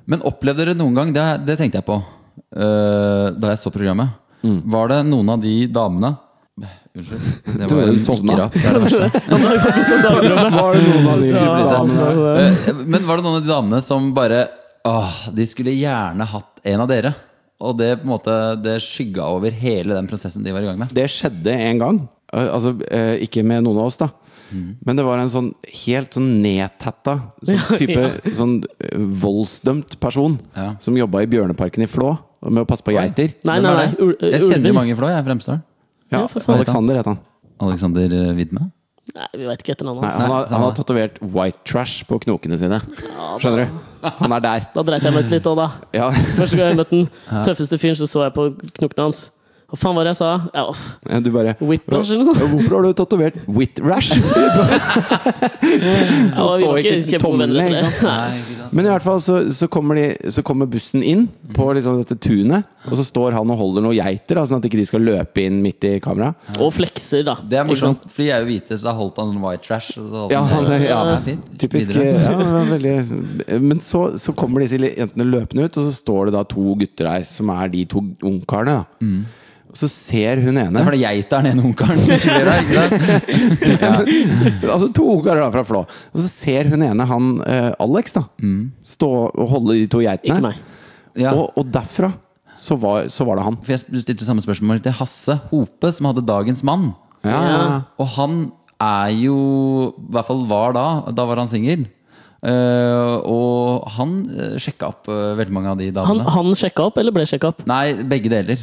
Speaker 2: Men opplevde dere noen gang, det, det tenkte jeg på eh, da jeg så programmet,
Speaker 3: Mm.
Speaker 2: var det noen av de damene Unnskyld. Det
Speaker 3: Du
Speaker 2: var
Speaker 3: mener
Speaker 2: en
Speaker 3: du sovna?
Speaker 2: ikke-rap. Det er det verste.
Speaker 3: Var det noen av de
Speaker 1: Ja,
Speaker 3: damene?
Speaker 1: men,
Speaker 2: Eh, Men var det noen av de damene som bare Åh, de skulle gjerne hatt en av dere. Og det på en måte Det skygga over hele den prosessen de var i gang med.
Speaker 3: Det skjedde en gang. Eh, Altså, eh, ikke med noen av oss, da.
Speaker 1: Mm.
Speaker 3: Men det var en sånn helt sånn nedtatta sånn type sånn eh, voldsdømt person
Speaker 2: Ja.
Speaker 3: som jobba i Bjørneparken i Flå med å passe på geiter.
Speaker 1: nei,
Speaker 2: Hvem
Speaker 1: nei,
Speaker 2: er
Speaker 1: nei.
Speaker 2: det?
Speaker 1: ul-
Speaker 2: Jeg kjenner
Speaker 1: ulver.
Speaker 2: jo mange i Flå, jeg er Fremsdal.
Speaker 3: Ja,
Speaker 1: Ja, for faen.
Speaker 3: Alexander het han.
Speaker 2: Alexander eh, Widme.
Speaker 1: Nei, vi veit ikke etter navnet
Speaker 3: Nei,
Speaker 1: hans.
Speaker 3: han har, han
Speaker 2: samme.
Speaker 3: har tatovert white trash på knokene sine. Skjønner du? Han er der.
Speaker 1: Da dreit jeg meg ut litt òg, da.
Speaker 3: Ja,
Speaker 1: Første gang jeg møtte den tøffeste fyren, så så jeg på knokene hans. Hva faen var det jeg sa? Ja, åh,
Speaker 3: du bare
Speaker 1: Whiplash eller noe sånt?
Speaker 3: Ja, Hvorfor har du tatovert whitrash?
Speaker 1: Jeg var
Speaker 3: så
Speaker 1: ikke
Speaker 3: ikke
Speaker 1: kjempegod venn
Speaker 3: tommelen,
Speaker 1: etter det.
Speaker 2: Nei, ikke sant.
Speaker 3: Men i hvert fall så, så, kommer, de, så kommer bussen inn på liksom dette tunet, og så står han og holder noen geiter, da, sånn at ikke de skal løpe inn midt i kameraet.
Speaker 1: Og flekser, da.
Speaker 2: Det er
Speaker 1: Ikke sant?
Speaker 2: morsomt, fordi jeg er jo hvite, så da holdt han sånn white trash. Og så holdt
Speaker 3: Ja, han-
Speaker 2: det.
Speaker 3: ja.
Speaker 2: Det er fint.
Speaker 3: Typisk eh,
Speaker 2: Videre.
Speaker 3: ja, det var veldig, Men så, så kommer disse jentene løpende ut, og så står det da to gutter der, som er de to ungkarene. da. Og så ser hun
Speaker 2: Det
Speaker 3: ene
Speaker 2: er fordi geita er den ene ungkaren. ja.
Speaker 3: Altså to ungkarer da fra Flå. Og så ser hun ene, han eh, Alex, da stå og holde de to geitene.
Speaker 1: Ikke meg.
Speaker 2: Ja.
Speaker 3: Og, og derfra så var, så var det han.
Speaker 2: For jeg stilte samme spørsmål til Hasse Hope, som hadde Dagens Mann.
Speaker 3: Ja,
Speaker 1: Ja.
Speaker 2: Og han er jo I hvert fall var da. Da var han singel. Eh, og han uh, sjekka opp eh, veldig mange av de
Speaker 1: Han,
Speaker 2: damene.
Speaker 1: han sjekka opp, eller ble sjekka opp?
Speaker 2: Nei, begge deler.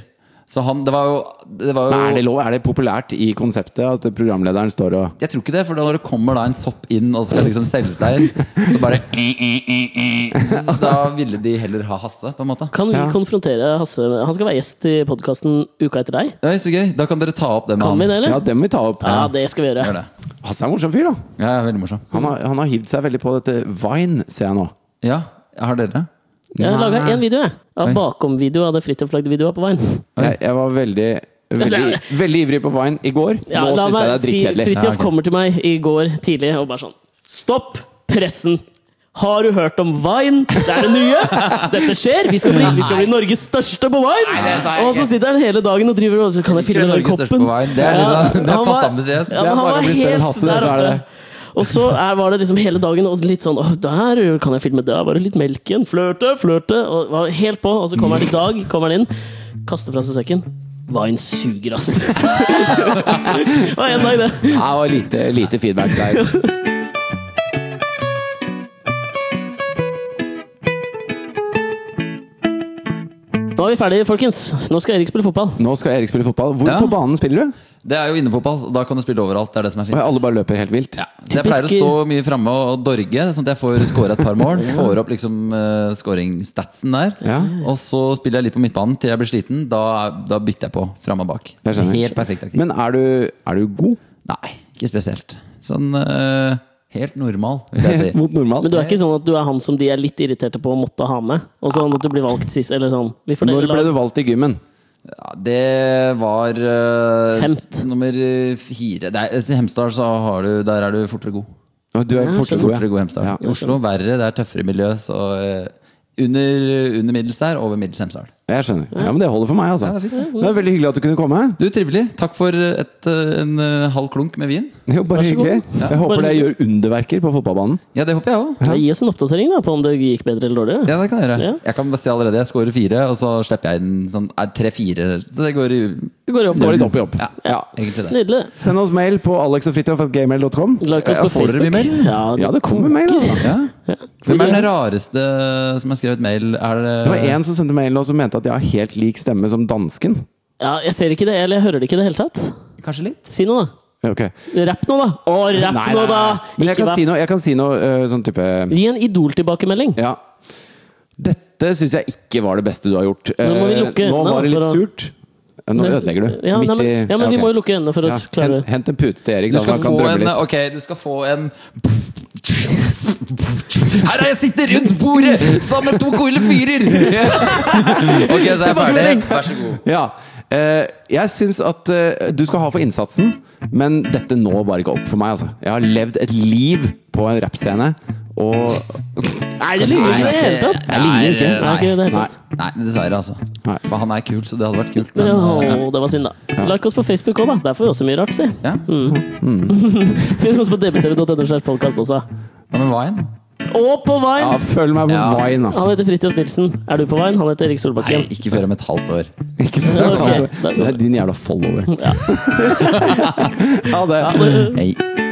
Speaker 2: Så han Det var jo, det var jo
Speaker 3: Men er det lov? Er det populært i konseptet at programlederen står og
Speaker 2: Jeg tror ikke det, for når det kommer da en sopp inn og skal liksom selge seg inn, så bare eh, så eh. Da ville de heller ha Hasse, på en måte.
Speaker 1: Kan vi
Speaker 3: Ja.
Speaker 1: konfrontere Hasse? Han skal være gjest i podkasten uka etter deg.
Speaker 2: Oi, så gøy. Da kan dere ta opp det med
Speaker 1: Kan vi det,
Speaker 2: han.
Speaker 1: eller?
Speaker 3: Ja, det må vi ta opp.
Speaker 1: Ja, det skal vi
Speaker 2: Gjør
Speaker 1: gjøre.
Speaker 2: det.
Speaker 3: Hasse er en morsom fyr, da.
Speaker 2: Ja, ja, veldig morsom.
Speaker 3: Han har, han har hivd seg veldig på dette Vine, ser jeg nå.
Speaker 2: Ja, har dere?
Speaker 1: Jeg har laga
Speaker 3: Nei.
Speaker 1: én video, jeg. Av
Speaker 2: Oi.
Speaker 1: bakom-video av det Fridtjof-lagde-videoa på veien.
Speaker 3: Jeg, jeg var veldig Veldig, veldig ivrig på Vine i går.
Speaker 1: Ja,
Speaker 3: nå
Speaker 1: la meg
Speaker 3: syns jeg det er
Speaker 1: si
Speaker 3: drittkjedelig.
Speaker 2: Ja,
Speaker 1: Fridtjof
Speaker 2: ok.
Speaker 1: kommer til meg i går tidlig og bare sånn Stopp pressen! Har du hørt om Vine? Det er det nye! Dette skjer! Vi skal bli, vi skal bli Norges største på Vine!
Speaker 2: Nei, det sa jeg
Speaker 1: og så
Speaker 2: ikke.
Speaker 1: sitter han hele dagen og driver og så Kan jeg filme den
Speaker 2: Norges største
Speaker 1: koppen?
Speaker 2: på Vine. Det er liksom- det er
Speaker 1: han var-
Speaker 2: passe
Speaker 1: Ja,
Speaker 2: ambisiøst.
Speaker 3: Det er
Speaker 1: men han
Speaker 3: bare å
Speaker 1: var
Speaker 3: bli større enn
Speaker 1: helt
Speaker 3: Hasse,
Speaker 1: der
Speaker 3: så er
Speaker 1: oppe.
Speaker 3: det det.
Speaker 1: Og så er, var det liksom hele dagen og litt sånn Åh, der kan jeg filme det. Bare litt melk igjen. Flørte, flørte. Og var helt på. Og så kommer han i dag, kommer han inn, kaster fra seg sekken. Vine suger, ass. det var en dag, det.
Speaker 3: Ja, det var lite, lite feedback der.
Speaker 1: Nå er vi ferdige, folkens. Nå skal Erik spille fotball.
Speaker 3: Nå skal Erik spille fotball. Hvor
Speaker 2: Ja.
Speaker 3: på banen spiller du?
Speaker 2: Det er jo innefotball, så da kan du spille overalt. Det er det som er
Speaker 3: Og
Speaker 2: fint.
Speaker 3: alle bare løper helt vilt.
Speaker 2: Ja. Så jeg pleier å
Speaker 1: Typisk-
Speaker 2: stå mye framme og dorge, sånn at jeg får skåra et par mål. Får opp liksom uh, skåringsstatsen der.
Speaker 3: Ja.
Speaker 2: Og så spiller jeg litt på midtbanen til jeg blir sliten. Da, da bytter jeg på framme og bak.
Speaker 3: Jeg skjønner.
Speaker 2: Helt perfekt taktikk.
Speaker 3: Men er du, er du god?
Speaker 2: Nei, ikke spesielt. Sånn eh, helt normal, vil jeg si.
Speaker 3: Mot normal?
Speaker 1: Men du er ikke sånn at du er han som de er litt irriterte på å måtte ha med? Og sånn at du blir valgt sist, eller sånn? Vi
Speaker 3: Når
Speaker 1: fordeler lag.
Speaker 3: ble du valgt i gymmen?
Speaker 2: Ja, det var eh,
Speaker 1: Femt.
Speaker 2: s- nummer fire. Nei, I Hemsedal så har du Der er du fortere god.
Speaker 3: Og Du er fortere god,
Speaker 2: Fortere god i Hemsedal.
Speaker 3: Ja.
Speaker 2: I Oslo verre, det er tøffere miljø. Så eh, under, under middels der, over middels Hemsedal.
Speaker 3: Jeg skjønner. Ja, Men det holder for meg, altså.
Speaker 2: Ja, det er fint,
Speaker 3: det er veldig hyggelig at du kunne komme.
Speaker 2: Du, trivelig. Takk for et, eh, en eh, halv klunk med vin.
Speaker 3: Jo, bare
Speaker 1: Vær så god.
Speaker 3: hyggelig.
Speaker 1: Ja.
Speaker 3: Jeg håper
Speaker 1: Bare
Speaker 3: det gjør underverker på fotballbanen.
Speaker 2: Ja, det håper jeg òg.
Speaker 1: Ja, Gi oss en oppdatering da på om det gikk bedre eller dårligere.
Speaker 2: Ja, det kan jeg gjøre.
Speaker 1: Ja.
Speaker 2: Jeg kan bare si allerede, jeg scorer fire, og så slipper jeg inn sånn eh, tre-fire. Så det går i
Speaker 1: Vi går opp.
Speaker 3: Går litt opp i opp.
Speaker 2: Ja,
Speaker 3: Ja.
Speaker 2: egentlig det.
Speaker 1: Nydelig.
Speaker 3: Send oss mail på alexogfritjof.gmail.com.
Speaker 1: Like oss
Speaker 2: Ja,
Speaker 1: på
Speaker 2: får dere mye
Speaker 1: Facebook.
Speaker 2: mail?
Speaker 1: Ja,
Speaker 3: Ja,
Speaker 1: Mm.
Speaker 3: det kommer mail. Altså.
Speaker 2: Ja. Hvem er den rareste som har skrevet mail? Er det,
Speaker 3: Det var en som sendte mail nå som mente at jeg har helt lik stemme som dansken.
Speaker 1: ja, jeg ser ikke det, eller jeg hører det ikke i det hele tatt.
Speaker 2: Kanskje litt?
Speaker 1: Si noe, da.
Speaker 3: Ja, Ok
Speaker 1: Rapp noe, da! Å, rapp
Speaker 3: Nei,
Speaker 1: noe,
Speaker 3: nei,
Speaker 1: da!
Speaker 3: nei. Men jeg
Speaker 1: Ikke
Speaker 3: kan
Speaker 1: vær-
Speaker 3: si noe, jeg kan si noe øh, sånn type
Speaker 1: Gi en idol-tilbakemelding.
Speaker 3: Ja. Dette syns jeg ikke var det beste du har gjort.
Speaker 1: Nå må vi
Speaker 3: Eh,
Speaker 1: lukke
Speaker 3: Nå
Speaker 1: øynene
Speaker 3: var det litt
Speaker 1: for å-
Speaker 3: surt. Ja, Nå ødelegger du.
Speaker 1: Ja, nei, men, ja, men
Speaker 3: ja,
Speaker 1: vi
Speaker 3: ok.
Speaker 1: må jo lukke øynene for å
Speaker 3: Ja,
Speaker 1: klare
Speaker 3: hent, hent en pute til Erik,
Speaker 2: Du
Speaker 3: da, så
Speaker 2: skal,
Speaker 3: han kan
Speaker 2: få
Speaker 3: drømme
Speaker 2: en,
Speaker 3: litt.
Speaker 2: ok, du skal få en Her er jeg sitter rundt bordet sammen med to coile fyrer! Ok, så er jeg ferdig.
Speaker 1: Tilbakemelding.
Speaker 2: Vær så god.
Speaker 3: Ja. eh, jeg syns at eh, du skal ha for innsatsen, men dette når bare ikke opp for meg. Altså. Jeg har levd et liv på en rappscene, og
Speaker 1: Nei, det ligner ikke i det hele tatt!
Speaker 3: Jeg ligner ikke.
Speaker 1: Nei, ikke i det hele
Speaker 3: Nei.
Speaker 1: tatt.
Speaker 2: Nei, dessverre, altså.
Speaker 3: Nei.
Speaker 2: For han er kul, så det hadde vært kult.
Speaker 1: Åh,
Speaker 2: Men, eh,
Speaker 1: det var synd, da. Like oss på Facebook òg, da. Der får vi også mye rart, si.
Speaker 2: ja.
Speaker 1: Finn oss på dbtv.no slash podcast også.
Speaker 2: Hva med Vine?
Speaker 1: Og på
Speaker 3: ja,
Speaker 1: Vine!
Speaker 3: følg meg på
Speaker 2: Ja.
Speaker 3: Vine, da.
Speaker 1: Han heter Fridtjof Nilsen. Er du på Vine? Han heter Erik
Speaker 2: Nei,
Speaker 1: Solbakken.
Speaker 2: ikke før om et halvt år.
Speaker 3: Ikke følg meg på
Speaker 1: Ok,
Speaker 3: Vine.
Speaker 1: da går
Speaker 3: Det er din jævla follower. Ha det.
Speaker 2: Hei.